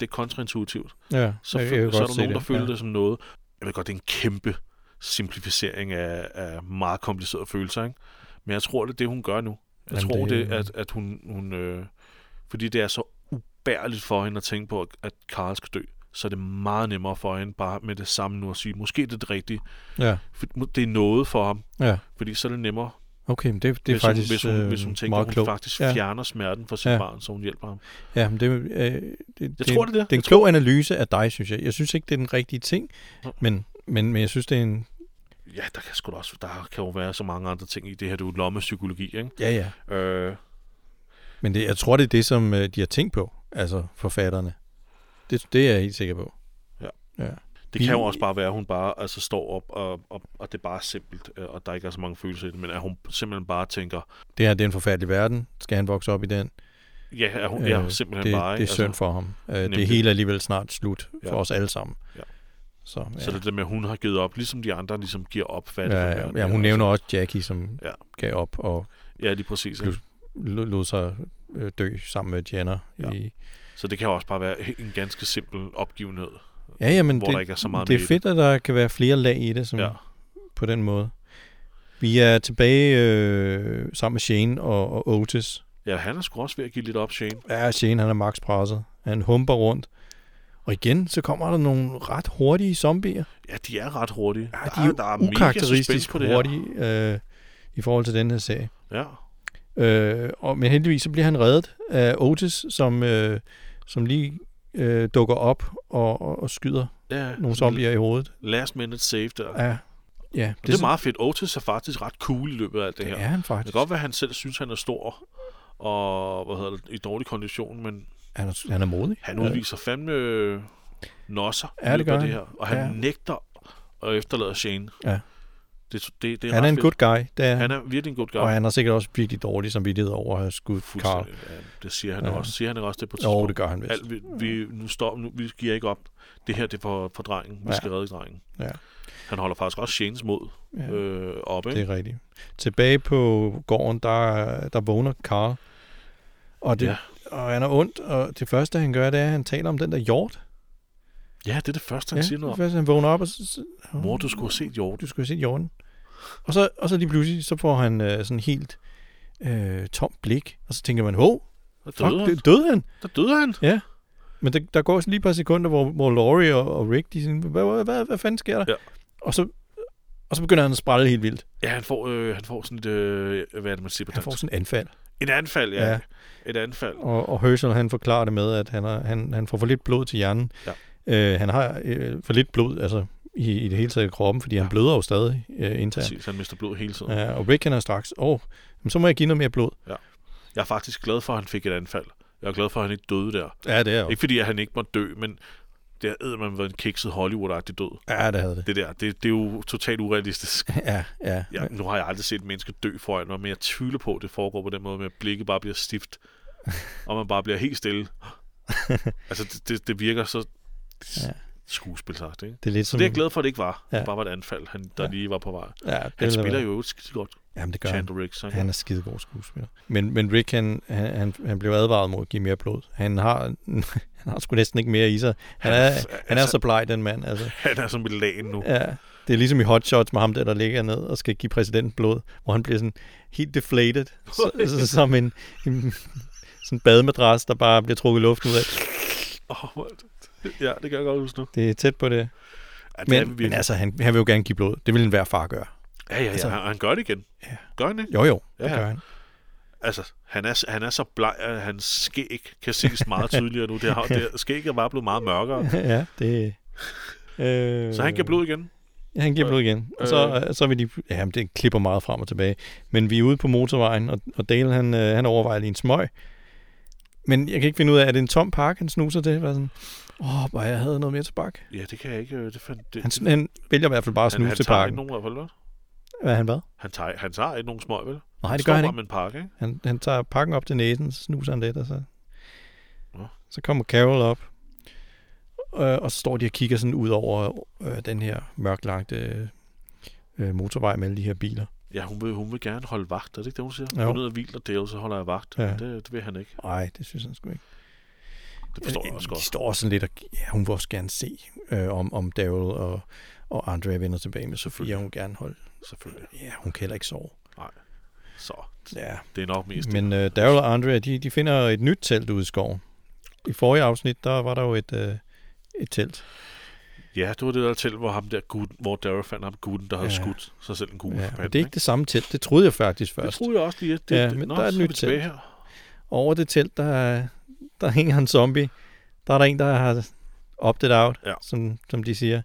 det er kontraintuitivt, Ja, så, jeg, jeg, jeg kan så er godt der se nogen, der det. føler ja. det som noget. Jeg ved godt, det er en kæmpe simplificering af, af meget komplicerede følelser, ikke? Men jeg tror, det er det, hun gør nu. Jeg Jamen, tror, det- det, at, at hun... hun øh, fordi det er så ubærligt for hende at tænke på, at- at Karl skal dø, så er det meget nemmere for hende bare med det samme nu at sige, måske det er det rigtige. Ja, For Det er noget for ham, ja. fordi så er det nemmere, Okay, men det, det er hvis, faktisk hun, hvis, hun, øh, hvis hun tænker, meget at hun klogt. faktisk Ja. fjerner smerten fra sit Ja. ja. barn, så hun hjælper ham. Ja, men det, øh, det, det, tror, det er det. det er en Jeg klog analyse af dig, synes jeg. Jeg synes ikke, det er den rigtige ting, Nå. men, men, men jeg synes, det er en... Ja, der kan, sgu da også, der kan jo være så mange andre ting i det her. Det er jo lommepsykologi, ikke? Ja, ja. Øh, Men det, jeg tror, det er det, som øh, de har tænkt på, altså forfatterne. Det, det er jeg helt sikker på. Ja. ja. Det Vi- kan jo også bare være, at hun bare altså, står op, og, og, og det er bare simpelt, øh, og der ikke er så mange følelser i det, men at hun simpelthen bare tænker, Det her det er en forfærdelig verden. Skal han vokse op i den? ja, at hun, øh, ja Øh, simpelthen Det, bare... det er ikke? Altså, synd for ham. Øh, nemlig. det hele er alligevel snart slut for Ja. os alle sammen. Ja. Så, ja. Altså, Så det er det med, at hun har givet op, ligesom de andre ligesom giver op. Hvad det ja, for ja, verden ja, er, hun altså. nævner også Jackie, som Ja. ja. gav op og Ja, lige præcis. ikke? Plus- lod lod sig øh, dø sammen med Jenner. Ja. Ja, i, Så det kan også bare være en ganske simpel opgivenhed, ja jamen, hvor der det, ikke er så meget det med er fedt, at der kan være flere lag i det i som, det. Ja. ja. på den måde. Vi er tilbage øh, sammen med Shane og, og Otis. ja, han er sgu også ved at give lidt op, Shane. Ja, Shane han er max presset. Han humper rundt. Og igen, så kommer der nogle ret hurtige zombier. Ja, de er ret hurtige. Ja, Der de er der er Ukarakteristisk på det her. hurtige øh, i forhold til den her serie. Ja. Øh, og, men heldigvis så bliver han reddet af Otis, som, øh, som lige øh, dukker op og, og, og skyder ja. nogle zombier i hovedet. Last minute save der. Ja, Ja. Ja, det, det er meget fedt. Otis er faktisk ret cool i løbet af alt det det her. er han Det kan faktisk. godt være, at han selv synes, han er stor og hvad hedder det, i dårlig kondition, men Han er, han er modig. han udviser fandme øh, nosser i Ja, det løbet af gør det han. her. Og han Ja. nægter at efterlade Shane. Ja. Det, det, det er han ret er en fedt. good guy, det er han. Han er virkelig en god guy. Og han har sikkert også virkelig dårlig samvittighed over at have skudt Carl. Fuldstændig. Ja, det siger han ja. Ja. også. Siger han ikke også det på et Jo, tidspunkt? det gør han vist. Alt, vi, vi, nu står, nu, vi giver ikke op. Det her, det er for, for drengen. Vi Ja. skal redde drengen. Ja. Han holder faktisk også Shanes mod Ja, øh, oppe. det Det. er rigtigt. Tilbage på gården, der, der vågner Carl. Og, det, Ja. ja. og han er ondt, og det første, han gør, det er, at han taler om den der hjort. Ja, det er det første, han ja, siger noget det om. første, han vågner op, og så, så, Mor, du skulle have set Hjorte. du skulle se hjorten. Og så, og så lige pludselig, så får han øh, sådan helt øh, tom blik, og så tænker man, hov, Der fuck, døde han. dø- døde han? Der døde han. Men der, der går også lige et par sekunder, hvor, hvor Laurie og, og Rick, de er sådan, hvad, hvad, hvad, hvad fanden sker der? Ja. Og, så, og så begynder han at sprælle helt vildt. Ja, han får, øh, han får sådan et... Øh, hvad er det, man siger på Han dansk? får sådan en anfald. Et anfald, ja. ja. Ja. Et anfald. Og, og Herschel, han forklarer det med, at han, har, han, han får for lidt blod til hjernen. Ja. Øh, han har øh, for lidt blod, altså i, i det hele taget i kroppen, fordi ja. Ja. han bløder jo stadig øh, internt. Præcis, han mister blod hele tiden. Ja. Ja, og Rick, han er straks, åh, oh, så må jeg give noget mere blod. Jeg er faktisk glad for, at han fik et anfald. Jeg er glad for, at han ikke døde der. Ja, det er jo. Ikke fordi, at han ikke må dø, men det har man været en kikset Hollywood-agtig død. Ja, det havde det. Det der, det, det er jo totalt urealistisk. Ja, ja. Ja, nu har jeg aldrig set et menneske dø foran mig, men jeg tvivler på, at det foregår på den måde, med at blikket bare bliver *laughs* stift, og man bare bliver helt stille. altså, det, det, det virker så Ja. skuespilsagtigt, ikke? Det er lidt Så som... det er jeg glad for, at det ikke var. Ja. Ja. Bare var et anfald, han, der ja. Ja. lige var på vej. Ja, Han det er- spiller jo skide godt, Jamen, det gør han. Chandler Riggs. ikke? Han er skidegod skuespiller. Men, men Rick, han, han, han, han blev advaret mod at give mere blod. Han har, *laughs* han har sgu næsten ikke mere i sig. Han er, han er altså, så bleg, den mand. Altså. han er som et lag nu. Ja, det er ligesom i Hot Shots med ham der, der ligger ned og skal give præsidenten blod, hvor han bliver sådan helt deflated, så, så, som en, en sådan bademadras, der bare bliver trukket luften ud af. Åh, hvor- ja, det kan jeg godt huske nu. Det er tæt på det. Ja, det er Men, vi men virkelig. altså, han, han vil jo gerne give blod. Det vil enhver far gøre. ja, ja, ja. altså- han, han gør det igen. Ja. Gør han ikke? Jo, jo, det Ja. gør han. *laughs* Altså, han er, han er så bleg, at hans skæg kan ses *laughs* meget tydeligere nu. Det har, det, skæg er bare blevet meget mørkere. ja, det... Øh, Så han giver blod igen. Ja, han giver Øh, blod igen. Og så, øh, så er vi lige... Jamen, det klipper meget frem og tilbage. Men vi er ude på motorvejen, og, og Dale, han, øh, han overvejer lige en smøg. Men jeg kan ikke finde ud af, er det en tom pakke, han snuser til? Var sådan, åh, hvor jeg havde noget mere tobak. Ja, det kan jeg ikke. øh, Det fandt, det, Han, han vælger i hvert fald bare at snuse han til tager ikke pakken. nogen, i hvert fald, hvad? Hvad han hvad? Han tager, han tager ikke nogen smøg, vel? Nej, det gør han står bare ikke. med en pakke, ikke? Han, han tager pakken op til næsen, så snuser han lidt, og så... Nå. Så kommer Carol op. Øh, og så står de og kigger sådan ud over øh, den her mørklagte øh, øh, motorvej med alle de her biler. Ja, hun vil, hun vil gerne holde vagt, er det ikke det, hun siger? Jo. Jo. Gå ned og hvil og dæve, så holder jeg vagt. Ja. Ja. Det, det vil han ikke. Nej, det synes han sgu ikke. Det forstår jeg Øh, også De godt. står også sådan lidt, og ja, hun vil også gerne se, øh, om, om Daryl og, og Andrea vender tilbage med Sofia. Selvfølgelig. Hun vil gerne holde. Selvfølgelig. Ja, hun kan heller ikke sove. Så, Ja. det er nok mest. Men, Men øh, Daryl og Andrea, de, de finder et nyt telt ude i skoven. I forrige afsnit, der var der jo et, øh, et telt. ja, det var det der til, hvor, ham der guden, hvor Daryl fandt ham gutten, der havde ja. Ja. skudt sig selv en kugle. Ja, for men panden, det er ikke det samme telt. Det troede jeg faktisk Uh, det først. troede jeg også lige. at Det, Ja, det, men nå, der er et så vi nyt tilbage til. her. Over det telt, der, er- der hænger en zombie. Der er der en, der har optet out, Ja. som, som de siger.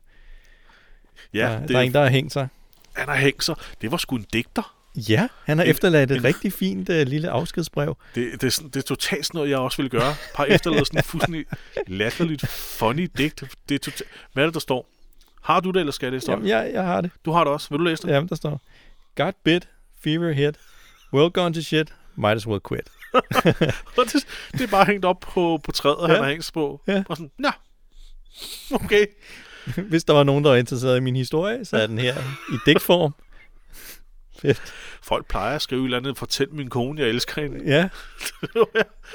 Ja, der, det, der er en, der har hængt sig. han har hængt sig. Det var sgu en digter. Ja, han har En- efterladt en- et rigtig fint øh, lille afskedsbrev. Det, det, er sådan, det er totalt sådan noget, jeg også ville gøre. Par efterlader sådan en fuldstændig latterligt funny digt. Det er totalt... tota- Hvad er det, der står? Har du det, eller skal jeg læse det op? Jamen, jeg, jeg har det. Du har det også. Vil du læse det? Jamen, der står, got bit, fever hit, well gone to shit, might as well quit. *laughs* *laughs* Og det, det er bare hængt op på, på træet, ja. han Ja. har hængt på. Ja. Og sådan, nå, okay. Hvis der var nogen, der var interesseret i min historie, så er den her i digtform. Folk plejer at skrive et eller andet, fortæl min kone, jeg elsker hende. Ja. *laughs*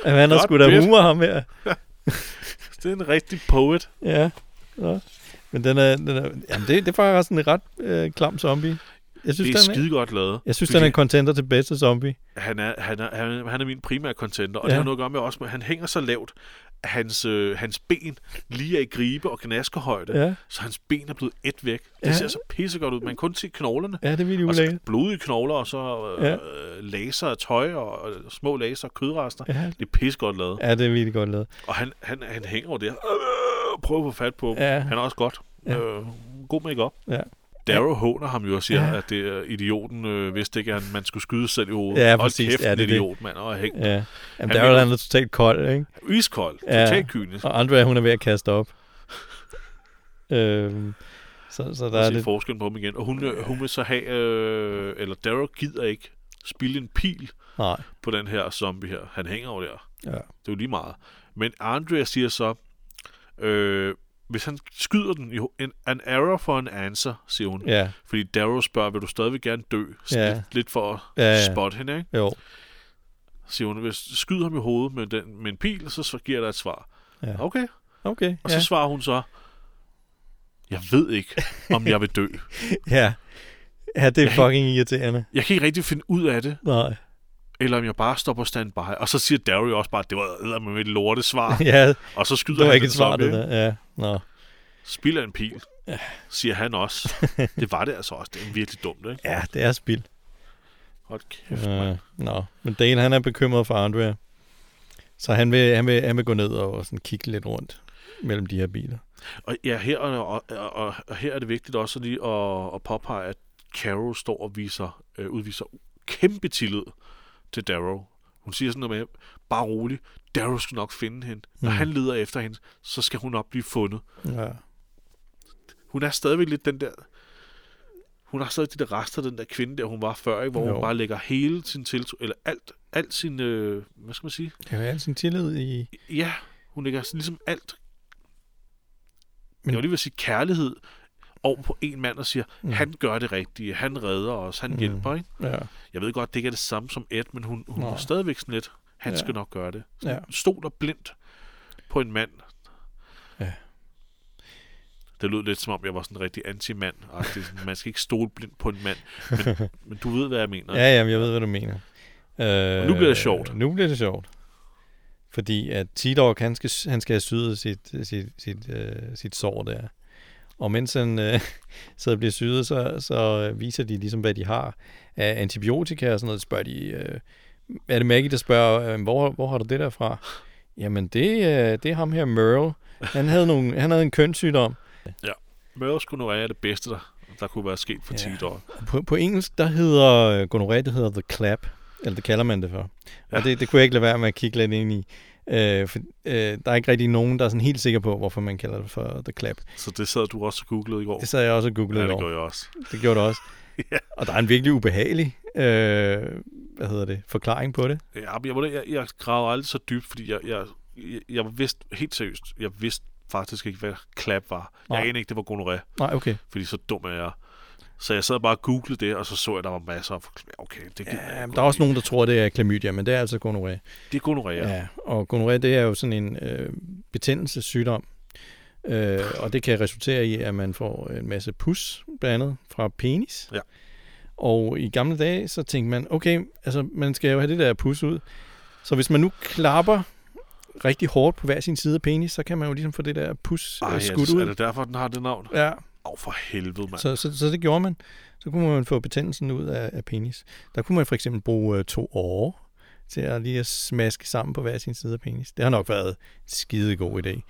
Jamen, han har Godt sgu da bit. humor, ham her. Det er en rigtig poet. Ja. Nå. Men den er, den er jamen det, det er faktisk en ret øh, klam zombie. Jeg synes, det er den er, skide godt lavet. jeg synes, Vi den er kan- en contender til bedste zombie. han er, han er, han, er- han er min primære contender, og ja. Ja. det har noget at gøre med også, at han hænger så lavt, at hans, øh, hans ben lige er i gribe og gnaskehøjde, ja. Ja, så hans ben er blevet et væk. Det Ja. ser så pissegodt ud, man kan kun se knoglerne. ja det er vildt Og så ulækkert. blodige knogler, og så øh, ja. laser af tøj, og, og små laser og kødrester. Ja. Ja, Det er pissegodt lavet. Ja. ja, det er virkelig godt lavet. Og han, han, han hænger over der, øh, og prøver at få fat på ja. Ja, Han er også godt. Ja. Ja. Øh, god make-up. Ja. Darrow håner ham jo og siger, ja. Ja. at det er idioten øh, vidste ikke, at man skulle skyde sig selv i hovedet. Ja, Hold præcis. kæft, Ja, en det er det. idiot, mand. Og hæng. ja. Han Jamen, der er jo vil- han er totalt kold, ikke? Iskold. Ja. Totalt kynisk. Og Andrea, hun er ved at kaste op. øhm, så, så der Og er se lidt... forskellen på ham igen. Og hun, øh, hun vil så have, øh, eller Darrow gider ikke spille en pil Nej. på den her zombie her. Han hænger over der. Ja. Det er jo lige meget. Men Andrea siger så, øh, hvis han skyder den, jo, en, an arrow for an answer, siger hun. Ja, Fordi Darrow spørger, vil du stadigvæk gerne dø? Ja. Ja. Lidt, lidt for at Ja, ja. spotte hende, ikke? jo. siger hun, hvis du skyder ham i hovedet med, den, med en pil, så så giver jeg dig et svar. Ja. Okay. Okay, Og ja. så svarer hun så, jeg ved ikke, om jeg vil dø. ja. Ja, det er Jeg kan- fucking irriterende. Jeg kan ikke rigtig finde ud af det, Nej. eller om jeg bare står på standby. Og så siger Dario også bare, det var med et lorte svar. ja, Og så skyder Ah, *laughs* det var han ikke den et svar, zombie, det der. Ja, nå. Spiller en pil, siger han *laughs* også. Det var det altså også. Det er virkelig dumt, ikke? Ja, det er spild. Hold kæft, mand. Øh, nå, men Dane han er bekymret for Andrea. Så han vil, han vil, han vil gå ned og sådan kigge lidt rundt mellem de her biler. Og ja, her, og, og, og, og her er det vigtigt også lige at, at påpege, at Carol står og viser, øh, udviser kæmpe tillid til Darrow. Hun siger sådan noget med, bare rolig, Darrow skal nok finde hende. Når Mm. han leder efter hende, så skal hun nok blive fundet. Ja. Hun er stadigvæk lidt den der... Hun har stadig de der rester af den der kvinde, der hun var før, ikke? hvor jo. Jo. hun bare lægger hele sin tiltro, eller alt, alt sin, øh, hvad skal man sige? Jeg har altså en tillid i... Ja, hun lægger sådan ligesom alt. Men... Men- Jeg vil lige vil sige kærlighed over på en mand og siger, mm. Mm. han gør det rigtige, han redder os, han mm. Mm. hjælper, ikke? Ja, Jeg ved godt, det ikke er det samme som Ed, men hun, hun Nej. er stadigvæk sådan lidt, han ja. Ja. skal nok gøre det. ja. Stoler blindt på en mand. Ja. Det lød lidt som om, jeg var sådan en rigtig anti-mand. agtig, sådan, Man skal ikke stole blindt på en mand. *laughs* Men, men du ved, hvad jeg mener. Ja, jamen, jeg ved, hvad du mener. Øh, nu bliver det sjovt. Nu bliver det sjovt. Fordi at T-Dog, han skal, han skal have syet sit, sit, sit, øh, sit sår der. Og mens han øh, *laughs* sidder og bliver syet, så, så øh, viser de ligesom, hvad de har af antibiotika og sådan noget. Spørger de, øh, er det Maggie, der spørger, øh, hvor, hvor har du det der fra? Jamen, det, øh, det er ham her, Merle. Han havde, nogle, han havde en kønssygdom. Mørre skulle nu være det bedste, der, der kunne være sket for Ja. 10 år. På, på engelsk, der hedder øh, gonorrhé, det hedder The Clap. Eller det kalder man det for. Og det, det kunne jeg ikke lade være med at kigge lidt ind i. Øh, for, øh, der er ikke rigtig nogen, der er sådan helt sikker på, hvorfor man kalder det for The Clap. Så det sad du også og googlede i går. Det sad jeg også og ja, googlede det over. gjorde jeg også. Det gjorde det også. *laughs* Ja. Og der er en virkelig ubehagelig øh, hvad hedder det, forklaring på det. Ja, men jeg, må da- jeg, jeg gravede aldrig så dybt, fordi jeg, jeg, jeg, jeg vidste helt seriøst, jeg vidste faktisk ikke, hvad klap var. Jeg Nej. anede ikke, det var gonoré, Nej, okay. fordi så dum er jeg. Så jeg sad bare og googlede det, og så så jeg, at der var masser af... forkl- Okay, det gider jeg Ja, men godt der er også lide. nogen, der tror, det er klamydia, men det er altså gonorré. Det er gonoré, ja. Ja, og gonorré, det er jo sådan en øh, betændelsessygdom, øh, Ah. og det kan resultere i, at man får en masse pus, blandt andet fra penis. Ja. Og i gamle dage, så tænkte man, okay, altså man skal jo have det der pus ud, så hvis man nu klapper rigtig hårdt på hver sin side af penis, så kan man jo ligesom få det der pus Ej, Ej, altså, skudt er ud. det derfor, den har det navn? Ja, Åh, oh, for helvede, mand. så, så, så det gjorde man. Så kunne man få betændelsen ud af, af penis. Der kunne man for eksempel bruge øh, to årer til at lige at smaske sammen på hver sin side af penis. Det har nok været en skide god idé.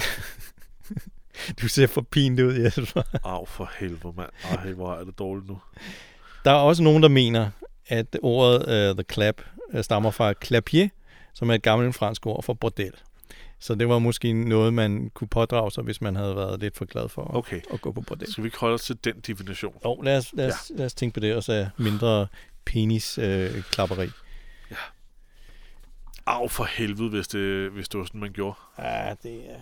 *laughs* du ser for pint ud, Jesper. Åh, oh, for helvede, mand. Ej, hvor er det dårligt nu. Der er også nogen, der mener, at øh, ordet uh, the clap uh, stammer fra clapier, som er et gammelt fransk ord for bordel. Så det var måske noget, man kunne pådrage sig, hvis man havde været lidt for glad for at, Okay. at gå på bordel. Skal vi ikke holde os til den definition? Jo, lad os, lad os, ja. lad os tænke på det, og så mindre penisklapperi. Øh, klapperi. Au for helvede, hvis det, hvis det var sådan, man gjorde. ja, det er...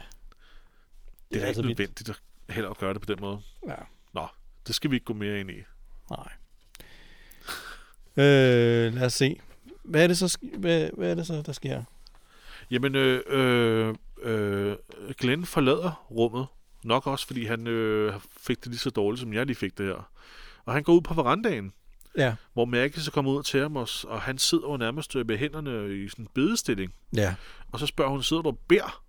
Det er, da ikke vidt. nødvendigt at heller at gøre det på den måde. Ja, Det skal vi ikke gå mere ind i. nej. Øh, lad os se. Hvad er det så, sk- hvad, hvad er det så der sker? Jamen, øh, øh, øh, Glenn forlader rummet. Nok også, fordi han øh, fik det lige så dårligt, som jeg lige fik det her. Og han går ud på verandaen, Ja. hvor Mærke så kommer ud til ham, og, og han sidder jo nærmest øh, med hænderne i sådan en bedestilling. Ja. Og så spørger hun, sidder du og beder?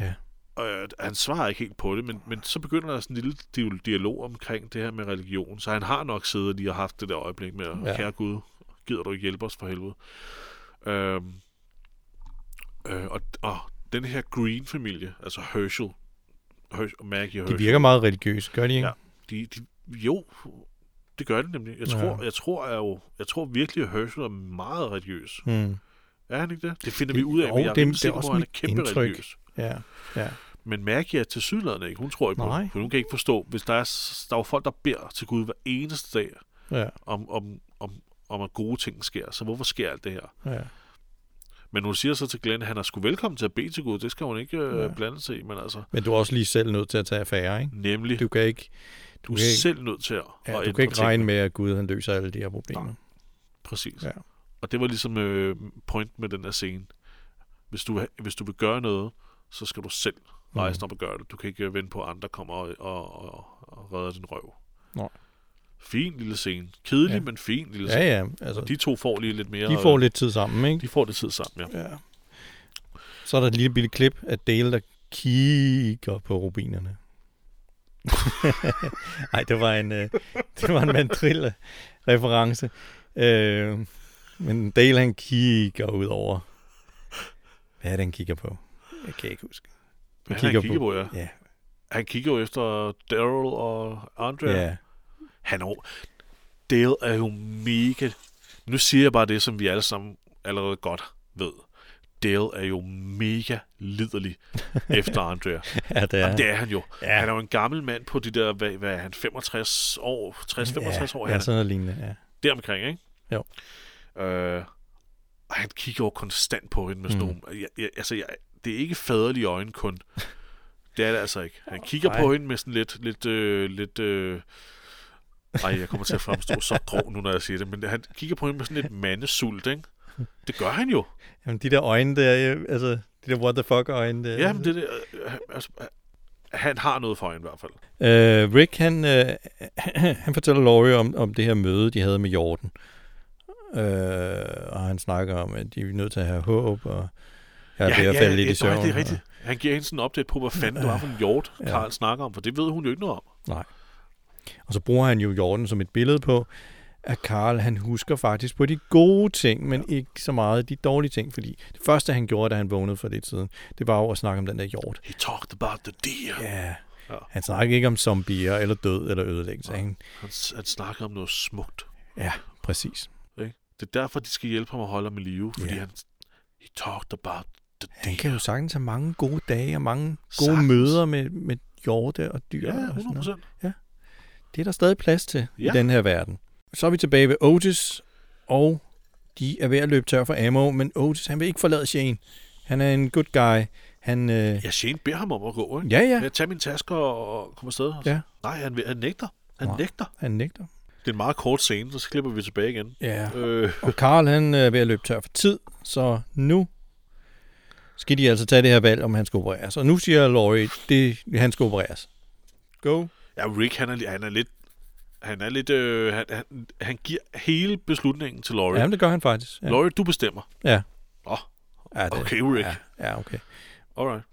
Ja. Og øh, han svarer ikke helt på det, men, men så begynder der sådan en lille di- dialog omkring det her med religion. Så han har nok siddet lige og haft det der øjeblik med, ja. Ja. kære Gud, gider du ikke hjælpe os for helvede? Øhm, øh, og, og den her Green-familie, altså Herschel, Herschel Maggie og De Herschel, virker meget religiøse, gør de ikke? Ja. de, de, jo, det gør det nemlig. Jeg Ja. tror, jeg tror, jeg, jo, jeg tror virkelig, at Herschel er meget religiøs. Hmm. Er han ikke det? Det finder Det- vi ud af, jo, men jeg er det- det rimelig er sikker på, også at han er mit kæmpe indtryk. religiøs. ja. ja. Men Maggie er til sydlandet ikke. Hun tror ikke på Nej. det. For hun kan ikke forstå, hvis der er, s- der er jo folk, der beder til Gud hver eneste dag, Ja, om, om, om, om at gode ting sker. Så hvorfor sker alt det her? ja. Men hun siger så til Glenn, at han er sgu velkommen til at bede til Gud. Det skal hun ikke øh, Ja. blande sig i. Men altså, Men du er også lige selv nødt til at tage affære, ikke? nemlig, du, Du kan ikke, du er kan ikke- selv nødt til at ja, at du ændre kan ikke ting. regne med, at Gud han løser alle de her problemer. Præcis. Ja. Og det var ligesom øh, point med den her scene. Hvis du, vil- hvis du vil gøre noget, så skal du selv Hmm. Mm. rejse dig op og gøre det. Du kan ikke øh, vente på, at andre kommer og, og, og, og redder din røv. Nej. Fin lille scene. Kedelig, Ja. men fin lille Ja, scene. ja. Altså, De to får lige lidt mere... de får øh, lidt tid sammen, ikke? de får det tid sammen, ja. Ja. Så er der et lille bitte klip af Dale, der kigger på rubinerne. *laughs* Nej, det var en, øh, det var en mandrille-reference. Øh, men Dale, han kigger ud over. Hvad er det, han kigger på? Jeg kan ikke huske. Han, han kigger kigger på, ja. Ja, Han kigger jo efter Daryl og Andre. ja. ja. Han er jo... Dale er jo mega... Nu siger jeg bare det, som vi alle sammen allerede godt ved. Dale er jo mega *laughs* liderlig efter Andrea. ja det er. Jamen, det er han jo. ja. Han er jo en gammel mand på de der, hvad, hvad er han, 65 år, 60-65 ja, år. Ja, Han er sådan noget lignende, ja. deromkring, ikke? Jo. Øh, og han kigger jo konstant på hende med sådan Mm. mm. jeg, jeg, Altså, jeg, det er ikke faderlige øjne *laughs* kun. Det er det altså ikke. Han kigger Nej. på hende med sådan lidt... lidt, øh, lidt øh, ej, jeg kommer til at fremstå så grov nu, når jeg siger det, men han kigger på hende med sådan lidt mandesult, ikke? Det gør han jo. Jamen, de der øjne der, øh, altså, de der what the fuck øjne der. Ja, men det, det øh, han- altså, han har noget for hende i hvert fald. Øh, Rick, han, øh, *clears throat* han fortæller Laurie om, om det her møde, de havde med Jordan. Øh, og han snakker om, at de er nødt til at have håb, og jeg er ved at falde lidt i nej, søvn. det er rigtigt. Han giver hende sådan en update på, hvad fanden det var for en hjort, Ja. Karl snakker om, for det ved hun jo ikke noget om. Og, og så bruger han jo Jordan som et billede på, at Karl han husker faktisk på de gode ting, men ikke så meget de dårlige ting, fordi det første, han gjorde, da han vågnede for lidt siden, det var jo at snakke om den der hjort. He talked about the deer. Ja, Ja. han snakker ikke om zombier, eller død, eller ødelæggelse. Nej. Han, Han, s- han snakker om noget smukt. ja, præcis. Det er derfor, de skal hjælpe ham at holde ham i live, fordi Ja. han... He talked about the Han deer. kan jo sagtens have mange gode dage og mange gode Sagtens. Sagtens. møder med, med hjorte og dyr. Ja, og sådan 100 noget. procent. Det er der stadig plads til ja. Ja. i den her verden. Så er vi tilbage ved Otis, og de er ved at løbe tør for ammo, men Otis han vil ikke forlade Shane. Han er en good guy. Han, øh, ja. Ja, Shane beder ham om at gå, ikke? ja, ja, Jeg tager min taske og og kommer afsted. Ja. Nej, han, vil- han nægter. Han Nej. nægter. han nægter. Det er en meget kort scene, så klipper vi tilbage igen. Ja. Øh, Og Karl han er ved at løbe tør for tid, så nu skal de altså tage det her valg, om han skal opereres. Og nu siger Laurie, det han skal opereres. Go. ja, Rick, han er, li- han er lidt... Han er lidt... Øh, han, han, han giver hele beslutningen til Laurie. Jamen, det gør han faktisk. Ja. Ja. Laurie, du bestemmer. Ja. Nå, Ja, det, okay, Rick. Ja, ja okay. Alright.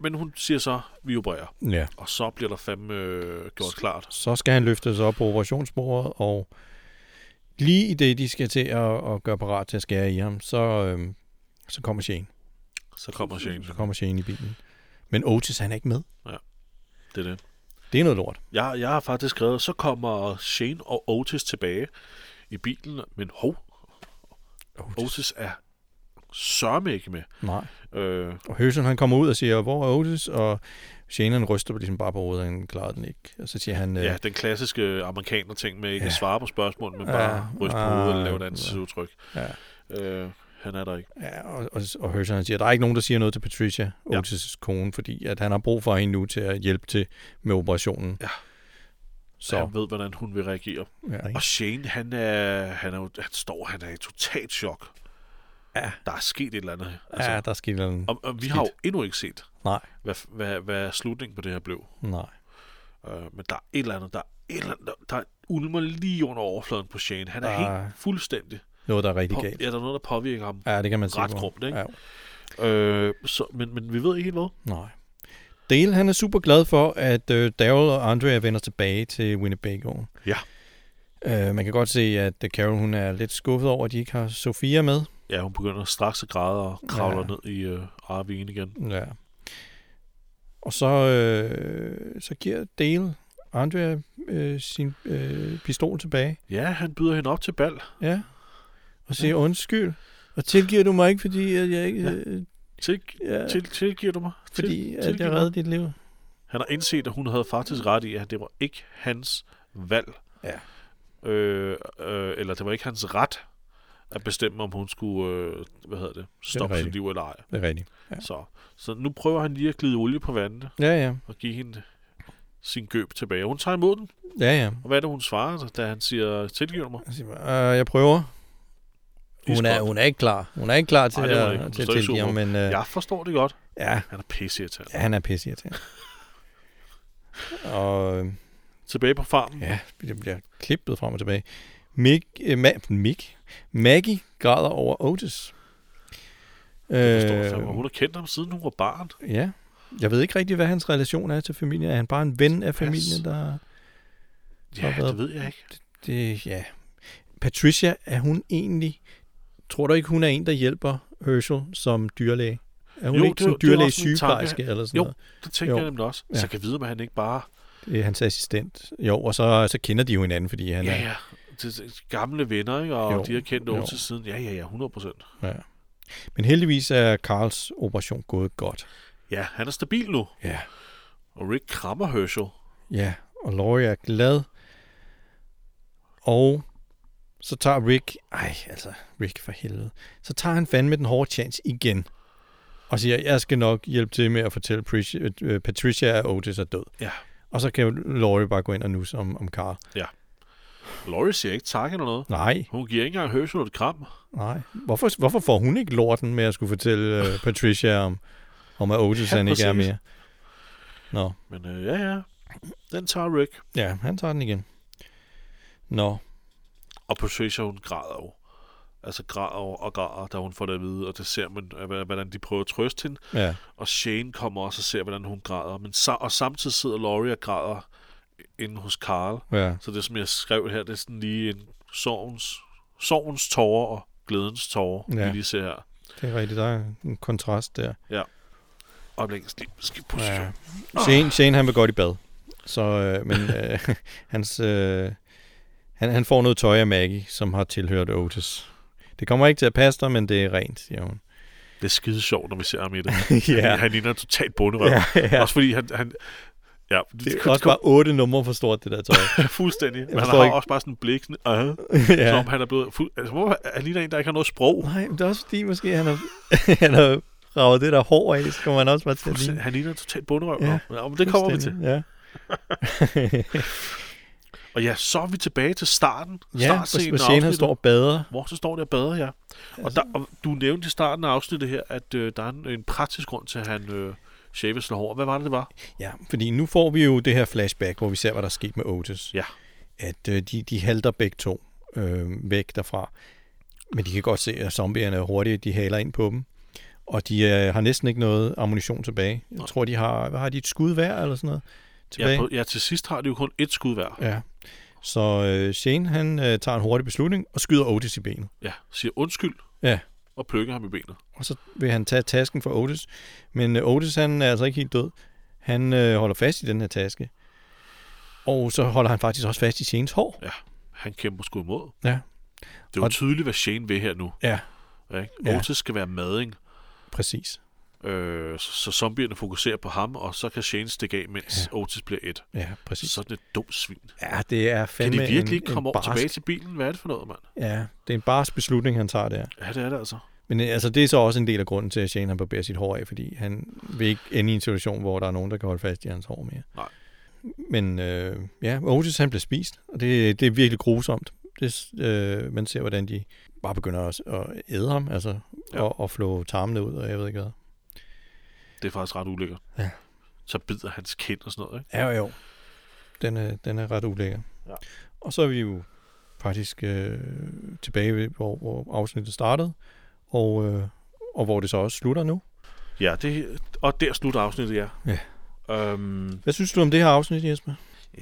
Men hun siger så, vi opererer. Ja. Og så bliver der fandme øh, gjort klart. Så skal han løftes op på operationsbordet, og lige i det, de skal til at, at gøre parat til at skære i ham, så, øhm, så kommer Shane. Så kommer Shane. Så kommer Shane i bilen. Men Otis, han er ikke med. Det er det. Det er noget lort. Jeg, jeg har faktisk skrevet, så kommer Shane og Otis tilbage i bilen. Men hov, Otis er sørme ikke med. Nej. Øh, Og Høsen, han kommer ud og siger, hvor er Otis? Og Shane, han ryster ligesom bare på hovedet, han klarer den ikke. Og så siger han, øh, ja, den klassiske amerikaner-ting med ikke ja. at Ja. svare på spørgsmål, men Ja. bare ryste på hovedet og lave et Ah, ansigtsudtryk. ja. Øh, han er der ikke. Ja, og, og, og Herschel han siger, der er ikke nogen, der siger noget til Patricia, Ja. Otis' kone, fordi at han har brug for hende nu til at hjælpe til med operationen. Ja. Så. Så, Han ved, hvordan hun vil reagere. ja, ikke? Og Shane, han, er, han, er jo, han står, han er i totalt chok. Ja. Der er sket et eller andet. Altså, ja der sker noget. og, og vi har jo endnu ikke set, Nej, hvad, hvad, hvad slutningen på det her blev. nej. Øh, men der er et eller andet, der er et eller andet, der, der ulmer lige under overfladen på Shane. Han er Ah, helt fuldstændig. Noget, der er rigtig På, galt. ja, der er noget, der påvirker ham Ja, det kan man se ret på. grumt, ikke? Ja, Øh, så, men, men vi ved ikke helt hvad. nej. Dale, han er super glad for, at øh, Daryl og Andrea vender tilbage til Winnebago. Ja. Øh, man kan godt se, at øh, Carol hun er lidt skuffet over, at de ikke har Sofia med. Ja, hun begynder straks at græde og kravler Ja. ned i øh, Arvin igen. Ja. Og så, øh, så giver Dale Andrea øh, sin øh, pistol tilbage. Ja, han byder hende op til bal. Ja. Og siger undskyld. Og tilgiver du mig ikke, fordi at jeg ikke... Ja. Øh, Til, ja, til, tilgiver du mig? Til- fordi at tilgiver jeg mig. reddede dit liv. Han har indset, at hun havde faktisk ret i, at det var ikke hans valg. Mm. Ja. Øh, øh, eller det var ikke hans ret at bestemme, om hun skulle øh, hvad hedder det, stoppe sit rigtigt. liv eller ej. Det er rigtigt. Ja. Ja. Så, så nu prøver han lige at glide olie på vandet Ja, ja. og give hende sin gøb tilbage. Hun tager imod den, Ja, ja. og hvad er det, hun svarer, da han siger, tilgiver du mig? Jeg, siger, bare, øh, jeg prøver. Hun er, Iskoldt. hun er ikke klar. Hun er ikke klar til Nej, Ej, det var det ikke. Hun at, til at står i tilgive ham, supermarked. men øh, ja. Jeg forstår det godt. ja, Han er pisseirriterende. ja, han er pisseirriterende. *laughs* og øh, Tilbage på farmen. Ja, det bliver klippet frem og tilbage. Mick, eh, Ma- Mick? Maggie græder over Otis. Øh, Det forstår jeg fandme. Hun har kendt ham, siden hun var barn. ja. Jeg ved ikke rigtig, hvad hans relation er til familien. Er han bare en ven af Pas. familien, der... Ja, Har været- det ved jeg ikke. Det, ja. Patricia, er hun egentlig... Tror du ikke, hun er en, der hjælper Herschel som dyrlæge? Er hun Jo, jo, ikke det- det som var dyrlæge også min sygeplejerske eller sådan Jo. noget? Det tænker Jo. jeg nemlig også. Ja. Så kan vide, at han ikke bare Det er hans assistent. Jo, og så, så kender de jo hinanden, fordi han Ja, er... ja. Det er gamle venner, ikke? Og jo. Jo, de har kendt jo. Otis siden. Ja, ja, ja, 100 procent. Men heldigvis er Karls operation gået godt. Ja, han er stabil nu. Ja. Og Rick krammer Herschel. Ja, og Laurie er glad. Og så tager Rick... Ej, altså, Rick for helvede. Så tager han fandme den hårde chance igen. Og siger, jeg skal nok hjælpe til med at fortælle Patricia, øh, Patricia at Otis er død. Ja. Og så kan Laurie bare gå ind og nusse om, om Carl. Laurie siger ikke tak eller noget. Nej, Hun giver ikke engang Herschel et kram. nej. Hvorfor, hvorfor får hun ikke lorten med at skulle fortælle *laughs* øh, Patricia om, om at Otis Ja, ja, han ikke er præcis. mere? Nå, Men øh, ja, ja. Den tager Rick. ja, han tager den igen. Nå, Og Patricia, hun græder jo. Altså græder og græder, da hun får det at vide. Og det ser man, øh, hva- hvordan de prøver at trøste hende. ja. Og Shane kommer også og ser, hvordan hun græder. Men sa- og samtidig sidder Laurie og græder inde hos Carl. ja. Så det, som jeg skrev her, det er sådan lige en sorgens, sorgens tårer og glædens tårer, ja. Ja. vi lige ser her. Det er rigtigt, der er en kontrast der. Øjeblikket lige skal pusse. Ja. Ja. Shane, Shane, han vil godt i bad. Så, øh, men øh, *laughs* hans, øh, han, han får noget tøj af Maggie, som har tilhørt Otis. Det kommer ikke til at passe dig, men det er rent, siger *laughs* hun. Det er skide sjovt, når vi ser ham i det. ja. *laughs* ja, Han ligner en total bonderøv. ja, Ja, ja. ja. Også fordi han... han ja, det, Det er også bare otte numre for stort, det der *laughs* tøj. bare fuldstændig. Men han forstår har ikke. ikke. også bare sådan en blik, sådan, øh, ja. som ja. om han er blevet... Fuld, altså, hvorfor, han ligner en, der ikke har noget sprog. Nej, men det er også fordi, måske han har, *laughs* han har ravet det der hår af, så kommer han også bare til at Fuldstændig. ligne. Han ligner en total bonderøv. Ja. Ja, ja, men det kommer vi til. Fuldstændig, Ja. Og ja, så er vi tilbage til starten. ja, hvor- hvor Shane han står og bader. Hvor så står det og bader, ja. Og, der, og du nævnte i starten af afsnittet her, at øh, der er en, en praktisk grund til, at han øh, shaves sig hår. Hvad var det, det var? Ja, fordi nu får vi jo det her flashback, hvor vi ser, hvad der er sket med Otis. Ja. At øh, de, de halter begge to øh, væk derfra. Men de kan godt se, at zombierne er hurtige, de haler ind på dem. Og de øh, har næsten ikke noget ammunition tilbage. Jeg Nej. tror, de har, hvad har de et skud hver eller sådan noget tilbage? Ja, på, ja, til sidst har de jo kun ét skud hver. ja. Så øh, Shane, han øh, tager en hurtig beslutning og skyder Otis i benet. Ja, siger undskyld Ja. og plukker ham i benet. Og så vil han tage tasken fra Otis. Men øh, Otis, han er altså ikke helt død. Han øh, holder fast i den her taske. Og så holder han faktisk også fast i Shanes hår. Han kæmper sgu imod. Ja. Det er jo Og- tydeligt, hvad Shane vil her nu. Ja. Ikke? Ja. Otis skal være madding, Præcis. øh, så, så zombierne fokuserer på ham, og så kan Shane stikke af, mens ja. Otis bliver et. Ja, præcis. Sådan et dumt svin. Ja, det er Kan fandme de virkelig en, ikke komme en over barsk, tilbage til bilen? Hvad er det for noget, mand? Ja, det er en barsk beslutning, han tager der. Ja, det er det altså. Men øh, altså, det er så også en del af grunden til, at Shane han barberer sit hår af, fordi han vil ikke ende i en situation, hvor der er nogen, der kan holde fast i hans hår mere. Nej. Men øh, ja, Otis han bliver spist, og det, det er virkelig grusomt. Det, s- øh, man ser, hvordan de bare begynder at, at æde ham, altså, Ja. ja. og, og flå tarmene ud, og jeg ved ikke hvad. Det er faktisk ret ulækkert. Ja. Så bider hans kind og sådan noget, ikke? Ja, jo. Den er, den er ret ulækker. Ja. Og så er vi jo faktisk øh, tilbage ved, hvor, hvor afsnittet startede, og, øh, og hvor det så også slutter nu. Ja, det, og der slutter afsnittet, ja. Ja. Øhm, Hvad synes du om det her afsnit, Jesper?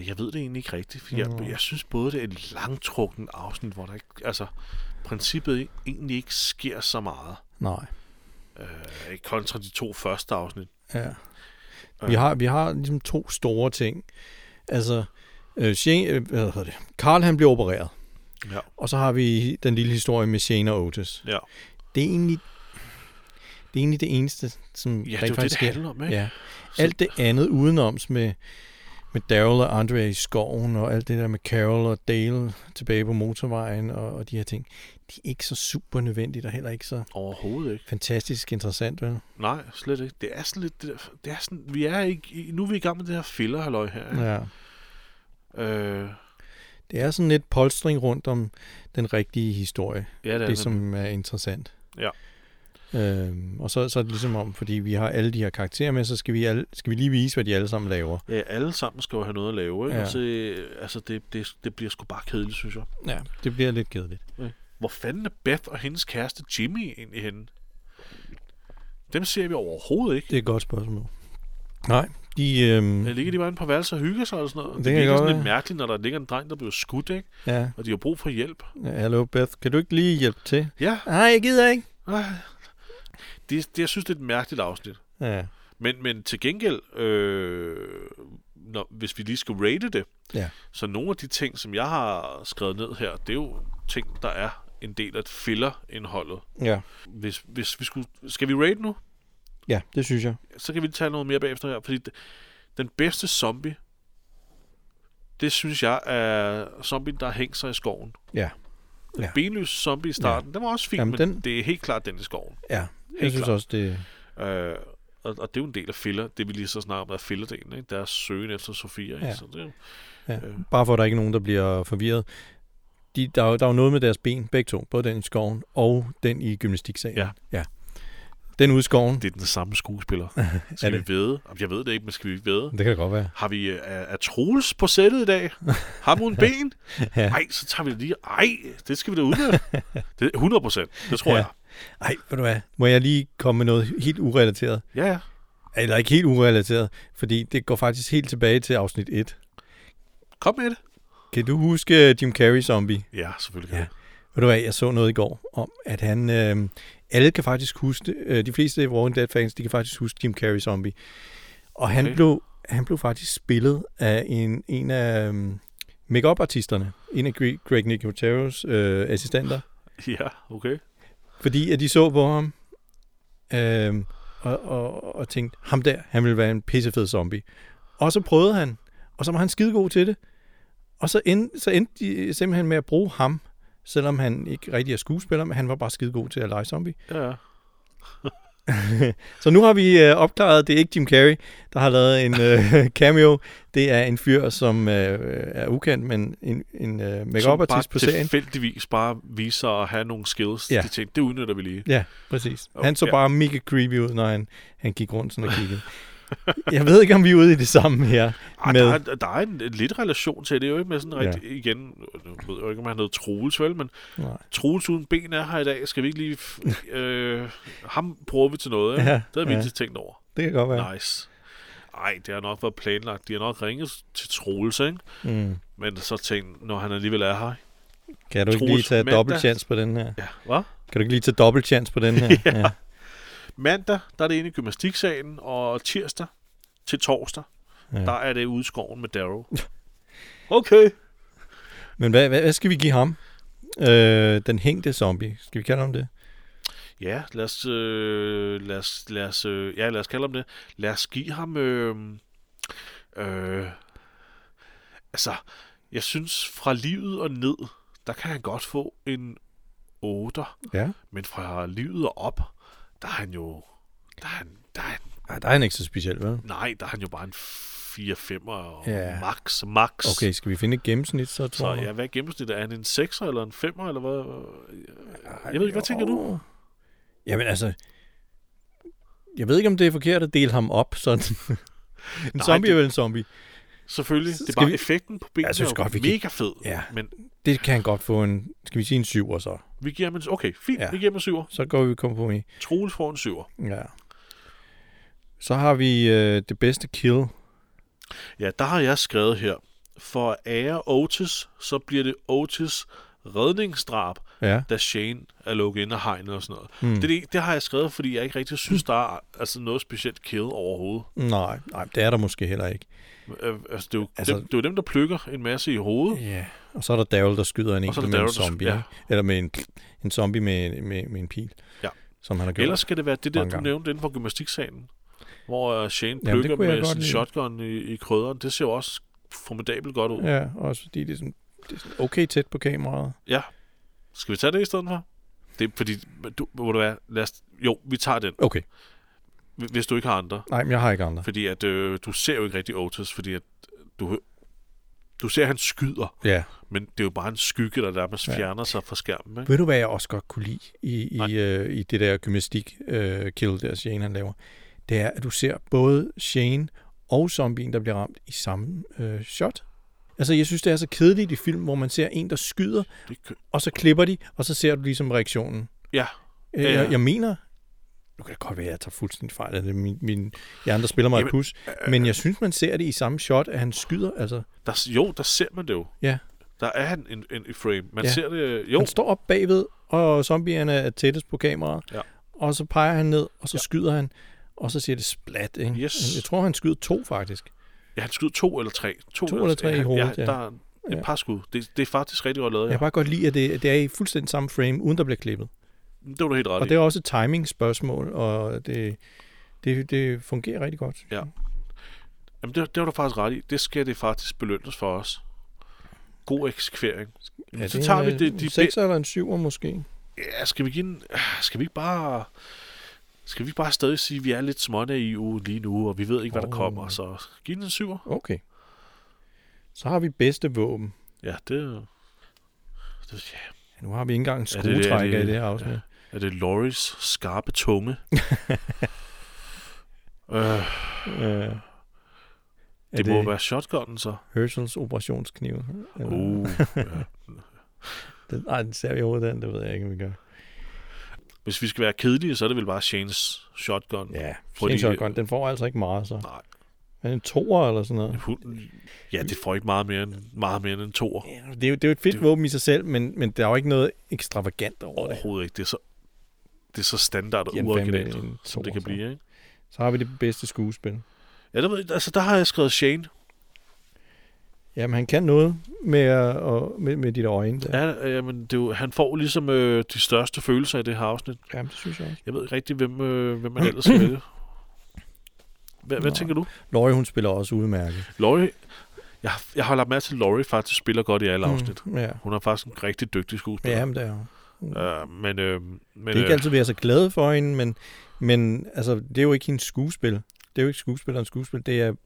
Jeg ved det egentlig ikke rigtigt, for jeg, Nå. jeg synes både, det er et langtrukken afsnit, hvor der ikke, altså, princippet egentlig ikke sker så meget. Nej. Øh, kontra de to første afsnit. Ja. Ja. Vi har, vi har ligesom to store ting. Altså, øh, Shane, øh, hvad hedder det? Carl han bliver opereret, Ja. og så har vi den lille historie med Shane og Otis. Ja, Det er egentlig det, er egentlig det eneste, som ja det er rent jo det, faktisk det sker. handler om, ikke? Ja. Alt det andet udenoms med, med Daryl og Andre i skoven, og alt det der med Carol og Dale tilbage på motorvejen, og, og de her ting, det er ikke så super nødvendigt, og heller ikke så Overhovedet ikke. fantastisk interessant, vel? Nej, slet ikke. Det er sådan lidt, det, der, det er sådan, vi er ikke, i- nu er vi i gang med det her filler her. ikke? Ja. Øh, Det er sådan lidt polstring rundt om den rigtige historie, ja, det er det som... som er interessant. Ja. Øhm, og så, så er det ligesom om, fordi vi har alle de her karakterer med, så skal vi, alle, skal vi lige vise, hvad de alle sammen laver. Ja, alle sammen skal jo have noget at lave, ikke? Ja. Ja. Altså, altså det, det, det bliver sgu bare kedeligt, synes jeg. Ja, det bliver lidt kedeligt. Hvor fanden er Beth og hendes kæreste Jimmy egentlig henne? Dem ser vi overhovedet ikke. Det er et godt spørgsmål. Nej, de... Øhm, Der ligger de bare inde på værelse og hygger sig og sådan noget. Det Det, kan det virker godt sådan lidt være. mærkeligt, når der ligger en dreng, der bliver skudt, ikke? ja, Og de har brug for hjælp. Ja, Hallo Beth, kan du ikke lige hjælpe til? Ja, Nej, jeg gider ikke. øh. det, det, jeg synes, det er et mærkeligt afsnit. Ja, Men, men til gengæld, øh, når, hvis vi lige skal rate det, Ja. så nogle af de ting, som jeg har skrevet ned her, det er jo ting, der er en del af filler-indholdet. ja. Hvis, hvis vi skulle, skal vi rate nu? ja det synes jeg. så kan vi tage noget mere bagefter her, fordi d- den bedste zombie, det synes jeg er zombien, der har hængt sig i skoven. Ja. Den Ja. benløse zombie i starten, ja. den var også fin, Jamen, men den- den... det er helt klart den i skoven. Ja, jeg Helt synes klart. også, det... Øh, og, og det er jo en del af filler, det vi lige så snakker om, der er fillerdelen, ikke? der er søgen efter Sofia. Ikke? Ja. Ja. Så det, Ja. øh, Bare for, at der ikke er nogen, der bliver forvirret. De, der, er jo- der er jo noget med deres ben, begge to. Både den i skoven og den i gymnastiksalen. Ja. ja. Den ude i skoven, det, det er den samme skuespiller. *laughs* Skal det? vi vide? Jeg ved det ikke, men skal vi vide? det kan det godt være. Har vi, øh, er, er Troels på sættet i dag? Har hun ben? *laughs* Ja. Nej, så tager vi det lige. Ej, det skal vi da udnytte. *laughs* Det er 100 procent, det tror Ja. ja. jeg. Ej, ved du hvad? Må jeg lige komme med noget helt urelateret? Ja, ja. Eller ikke helt urelateret, fordi det går faktisk helt tilbage til afsnit 1. Kom med det. Kan du huske Jim Carrey Zombie? Ja, selvfølgelig. Ja. Ja. Ved du hvad, jeg så noget i går om, at han... Øh, alle kan faktisk huske... det. Øh, de fleste Walking Dead-fans, de kan faktisk huske Jim Carrey Zombie. Og han, Okay. okay. blev, han blev faktisk spillet af en, en af øhm, make-up-artisterne. En af Greg, Greg Nicoteros øh, assistenter. ja, okay. Fordi at de så på ham øhm, og, og, og tænkte, ham der, han ville være en pissefed zombie. Og så prøvede han, og så var han skidegod til det. Og så, end, så endte de simpelthen med at bruge ham, selvom han ikke rigtig er skuespiller, men han var bare skidegod til at lege zombie. Ja, ja. Så nu har vi øh, opklaret, det er ikke Jim Carrey, der har lavet en øh, *laughs* cameo. Det er en fyr, som øh, er ukendt, men en, en øh, Som bare make-up-artist på serien. tilfældigvis bare viser at have nogle skills. Ja. Ja. De ting, det udnytter vi lige. Ja, præcis. Okay. Han så bare mega creepy ud, når han, han gik rundt sådan og kiggede. Jeg ved ikke, om vi er ude i det samme her. Ej, Med- der, er, der er en lidt relation til det. Det er jo ikke med sådan Ja. rigtig, ja. igen, nu ved jeg jo ikke, om han hedder Troels, vel, men Nej. Troels uden ben er her i dag. Skal vi ikke lige... f- *laughs* øh, ham bruger vi til noget, ikke? Ja, Ja, det har vi ja. ja. ikke tænkt over. Det kan godt være. Ja. Nice. Ej, det har nok været planlagt. De har nok ringet til Troels, ikke? Mm. Men så tænkt, når han alligevel er her. Kan du ikke Troels lige tage mandag. dobbelt chance på den her? Ja, hvad? Kan du ikke lige tage dobbelt chance på den *laughs* her? ja. ja. Mandag, der er det inde i gymnastiksalen, og tirsdag til torsdag, Ja. ja. der er det ude i skoven med *laughs* Darrow. Okay. Men hvad, hvad, hvad skal vi give ham? Øh, den hængte zombie. Skal vi kalde ham det? Ja, lad os, øh, lad os, lad os, øh, ja, lad os kalde ham det. Lad os give ham... Øh, øh, altså, jeg synes, fra livet og ned, der kan han godt få en 8, Ja. men fra livet og op, der er han jo... Der er han, der er han, Ej, der er han ikke så speciel, vel? nej, der er han jo bare en 4-5'er og Ja. max, max. Okay, skal vi finde et gennemsnit, så tror Så jeg? ja, hvad er gennemsnittet? Er han en 6'er eller en 5'er, eller hvad? Jeg ved ikke, hvad tænker du? Åh. Jamen altså, jeg ved ikke, om det er forkert at dele ham op sådan. *laughs* en Nej, zombie det- er vel en zombie. Selvfølgelig. Så Det er skal bare vi- effekten på benene Jeg er synes jo godt, vi kan- mega fed. Ja. Men Det kan han godt få en, skal vi sige en syver så. vi giver ham en... Okay, fint. Ja. Vi giver ham en syver. Så går vi kompromis. Troels får en syver. Ja. Så har vi øh, det bedste kill. Ja, der har jeg skrevet her. For at ære Otis, så bliver det Otis redningsdrab, Ja. da Shane er lukket ind af hegnet og sådan noget. Mm. Mm. Det, er det, det har jeg skrevet, fordi jeg ikke rigtig synes, der er altså noget specielt kæde overhovedet. Nej, nej, det er der måske heller ikke. Øh, Altså, det, er jo altså, Altså- dem, det er jo dem, der plukker en masse i hovedet. Ja. Og så er der Daryl, der skyder en Og så er enkelt der med en Daryl, der sky- zombie. ja. ikke? Eller med en, en zombie med, med, med en pil. Ja. Som han har gjort. Ellers skal det være det der, Mange du gange. nævnte inden for gymnastiksalen, hvor øh, Shane det plukker kunne jeg med godt sin lide. shotgun i, i krydderen. Det ser jo også formidabelt godt ud. Ja. Ja, også fordi det er, sådan, det er sådan okay tæt på kameraet. Skal vi tage det i stedet for? Det er fordi, du, må du være, lad os, jo, vi tager den, Okay, hvi- hvis du ikke har andre. nej, men jeg har ikke andre. Fordi at øh, du ser jo ikke rigtig Otis, fordi at du, du ser, at han skyder, Ja. men det er jo bare en skygge, der nærmest Ja. fjerner sig fra skærmen. Ikke? Ved du, hvad jeg også godt kunne lide i, Nej. i, øh, i det der gymnastik-kill, øh, kill der Shane han laver? Det er, at du ser både Shane og zombien, der bliver ramt i samme øh, shot. Altså, jeg synes, det er så kedeligt i film, hvor man ser en, der skyder, Det, kan- og så klipper de, og så ser du ligesom reaktionen. ja, Øh, Ja, ja. Jeg, jeg mener, nu kan det godt være, at jeg tager fuldstændig fejl, at det er min, min hjerne, der spiller mig et Jamen, øh, pus, men jeg synes, man ser det i samme shot, at han skyder, altså... der, jo, der ser man det jo. Ja. Der er han en, en, en frame. Man Ja. ser det, øh, jo, Han står op bagved, og zombierne er tættest på kameraet. Ja. Og så peger han ned, og så ja. skyder han, og så siger det splat. Ikke? Yes. Jeg tror, han skyder to faktisk. ja, han skød to eller tre. To, eller tre i ja, hovedet, ja. Der er et Ja. par skud. Det, det er faktisk rigtig godt lavet. Ja. Ja. Jeg kan bare godt lide, at det, at det er i fuldstændig samme frame, uden der bliver klippet. Det var du helt ret Og i. det er også et timing-spørgsmål, og det, det, det fungerer rigtig godt. Ja. Jamen, det, det var du faktisk ret i. Det skal det faktisk belønnes for os. God eksekvering. Jamen, så tager vi det, de, de be- 6 eller øh, en 7 måske. Ja, skal vi give en, ah, skal vi ikke bare skal vi ikke bare stadig sige, at vi er lidt smånaive lige nu, og vi ved ikke, hvad der Åh. kommer, så giv den en syver. Okay. Så har vi bedste våben. Ja, det... det ja. Ja, nu har vi ikke engang en Ja, det er det, det skruetrækker er i det. det her afsnit. Ja. Er det Loris skarpe *laughs* tunge? øh, Ja. Øh, er det, det må være shotgunnen, så. Herschels operationskniv. Eller- Uh, ja. Den, ej, den ser vi overhovedet den, det ved jeg ikke, om vi gør. Hvis vi skal være kedelige, så er det vel bare Shanes shotgun. Ja, Fordi- fordi... Shotgun, den får altså ikke meget, så. Nej. Er det en toer eller sådan noget? Hunden, ja, det får ikke meget mere end, meget mere end en toer. Ja, Det er, jo, det er jo et fedt Det- det... våben i sig selv, men, men der er jo ikke noget ekstravagant over det. Overhovedet ikke. Det er så, det er så standard og Jamen, fandme, uoriginalt, en som det toer, kan så. blive, ikke? Så har vi det bedste skuespil. Ja, der, ved- altså, der har jeg skrevet Shane. Jamen, han kan noget med, at- og, med, med dit øjne. Der. Ja. Ja, ja men det er jo, han får ligesom øh, de største følelser i det her afsnit. Jamen, det synes jeg også. Jeg ved ikke rigtig, hvem, øh, hvem man ellers skal *clears throat* vælge. Hvad, hvad Nå. tænker du? Laurie, hun spiller også udmærket. Laurie, jeg, har- jeg har lagt mærke til, at Laurie faktisk spiller godt i alle afsnit. Mm, ja. Hun er faktisk en rigtig dygtig skuespiller. ja, men det er jo. Øh, men, øh, men, Det er øh, ikke altid, vi er så glade for hende, men, men altså, det er jo ikke hendes skuespil. Det er jo ikke skuespillerens skuespil, det er det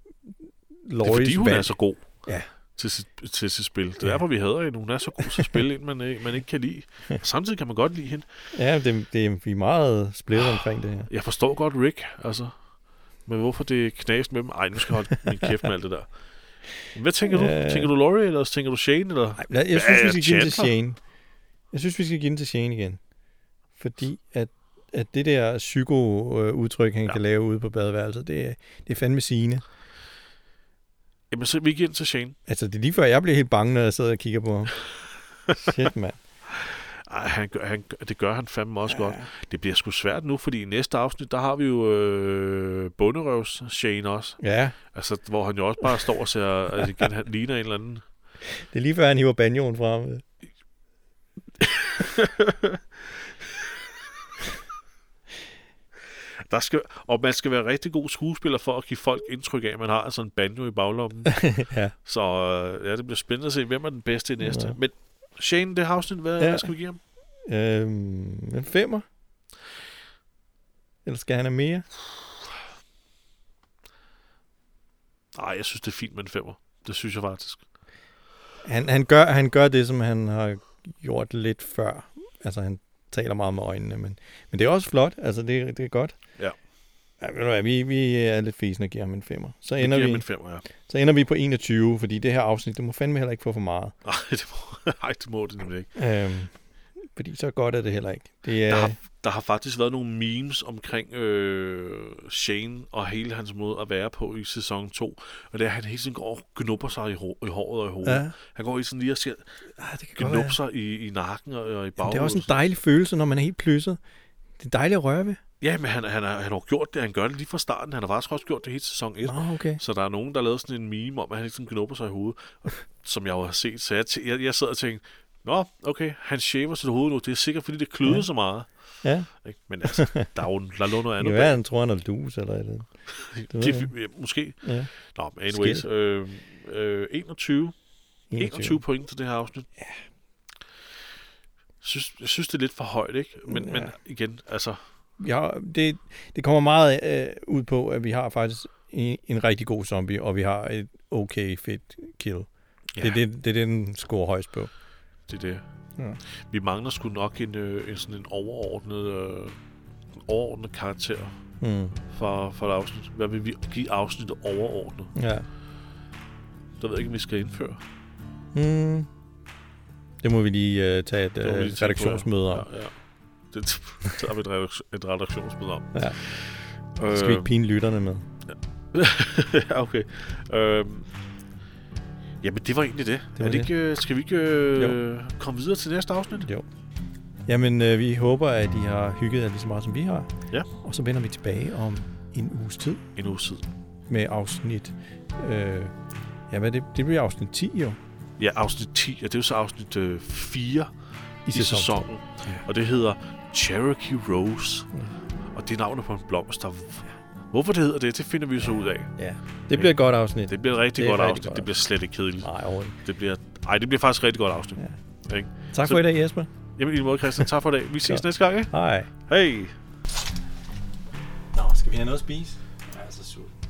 er Lauries fordi, hun valg. er så god Ja. til, sit, til sit spil. Det er Ja. derfor, vi hader hende. Hun er så god til at spille, ind man, øh, man ikke kan *laughs* lide. Og samtidig kan man godt lide hende. Ja, det, det, vi er meget splittet omkring det her. Jeg forstår godt Rick, altså. Men hvorfor det knas med dem? Ej, nu skal jeg holde min kæft med alt det der. Hvad tænker du? Øh. Tænker du Laurie, eller tænker du Shane? Eller? Ej, lad- jeg Hvad synes, er vi skal give den til Chandler? Shane. Jeg synes, vi skal give den til Shane igen. Fordi at, at det der psyko-udtryk, han Ja. ja. kan lave ude på badeværelset, det, er- det er fandme sigende. Jamen, så vi giver den til Shane. Altså, det er lige før, jeg bliver helt bange, når jeg sidder og kigger på ham. Shit, mand. Ej, han gør, han, gør- det gør han fandme også ja. godt. Det bliver sgu svært nu, fordi i næste afsnit, der har vi jo øh, Bunderøvs Shane også. Ja, Altså, hvor han jo også bare står og ser, altså igen, han ligner en eller anden. det er lige før, han hiver *laughs* banjoen frem. Der skal, og man skal være rigtig god skuespiller for at give folk indtryk af, at man har sådan en banjo i *laughs* baglommen. ja. Så øh, ja, det bliver spændende at se, hvem er den bedste i næste. Ja. Ja. Men Shane, det har afsnit, hvad, Ja. ja. hvad skal vi give ham? Øhm, en femmer? Eller skal han have mere? Nej, jeg synes, det er fint med en femmer. Det synes jeg faktisk. Han, han, gør, han gør det, som han har gjort lidt før. Altså, han taler meget med øjnene, men, men det er også flot. Altså, det, det er godt. Ja. Ja, ved du hvad, vi, vi er lidt fesen og giver ham en femmer. Så Jeg ender, giver vi, ham en femmer, ja. så ender vi på 21, fordi det her afsnit, det må fandme heller ikke få for meget. Nej, *laughs* det må, nej, det, må det nemlig ikke. Øhm, fordi så godt er det heller ikke. Det Der er, har, der har faktisk været nogle memes omkring øh, Shane og hele hans måde at være på i sæson 2. Og det er, at han hele tiden går og gnubber sig i, ho- i håret og i hovedet. Ja. ja, Han går hele tiden lige og ser, ah, det kan godt være. gnubber sig i, i nakken og, og i Jamen, baghovedet. det er også en dejlig følelse, når man er helt plysset. Det er dejligt at røre ved. Ja, men han, han, har, han har gjort det. Han gør det lige fra starten. Han har faktisk også gjort det hele sæson 1. Nå, okay. Så der er nogen, der lavede sådan en meme om, at han ligesom knupper sig i hovedet, og- som jeg jo har set. Så jeg, tæ- jeg, jeg sad og tænkte, Nå, okay, han shaver sit hoved nu. Det er sikkert, fordi det kløder Ja. ja. så meget. Ja, Ikke? Men altså, der er jo der lå noget *laughs* det kan andet. være, bag. han tror, han er lus eller et eller andet. det ved Det, jeg ja, måske. Ja. Nå, men anyways. Øh, øh, 21, 21. 21 point til det her afsnit. Ja. Synes, jeg synes, det er lidt for højt, ikke? Men, ja. men Ja. igen, altså... Ja, det, det kommer meget øh, ud på, at vi har faktisk en, en rigtig god zombie, og vi har et okay fedt kill. Ja. Ja. Det, er det, det er det, den scorer højst på. Det er det. Ja. Ja. Vi mangler sgu nok en, øh, en, sådan en overordnet, øh, en overordnet karakter Mm. for, for et afsnit. Hvad vil vi give afsnittet overordnet? Ja. Det ved jeg ikke, om vi skal indføre. Mm. Det må vi lige øh, tage et Det må vi lige tænke øh, på, redaktionsmøde Ja, om. ja. Det tager vi et, redaktion, et redaktionsmøde om. Ja. Øh, Skal vi ikke pine lytterne med? *laughs* ja, okay. Øh, jamen, det var egentlig det. var det, er det, det. Ikke, øh, skal vi ikke øh, komme videre til næste afsnit? Jo. Jamen, øh, vi håber, at I har hygget jer lige så meget, som vi har. Ja. Og så vender vi tilbage om en uges tid En uge tid. med afsnit... Øh, ja, hvad er det? det bliver afsnit 10 jo. Ja, afsnit 10, og det er jo så afsnit øh, 4 i, i sæson. sæsonen. sæsonen. Ja. Og det hedder Cherokee Rose. Ja. Og det er navnet på en blomst. der- Hvorfor det hedder det, det finder vi så ud af. Ja. Det bliver et godt afsnit. Det bliver et rigtig Det er godt rigtig afsnit. godt det bliver slet ikke kedeligt. Nej, overhovedet ikke. Det bliver, ej, det bliver faktisk et rigtig godt afsnit. Ja. Ikke? Tak for Så- i dag, Jesper. Jamen, i lige måde, Christian. Tak for i dag. Vi ses Ja. næste gang, ikke? Hej. Hej! Nå, skal vi have noget at spise? Jeg er så sulten.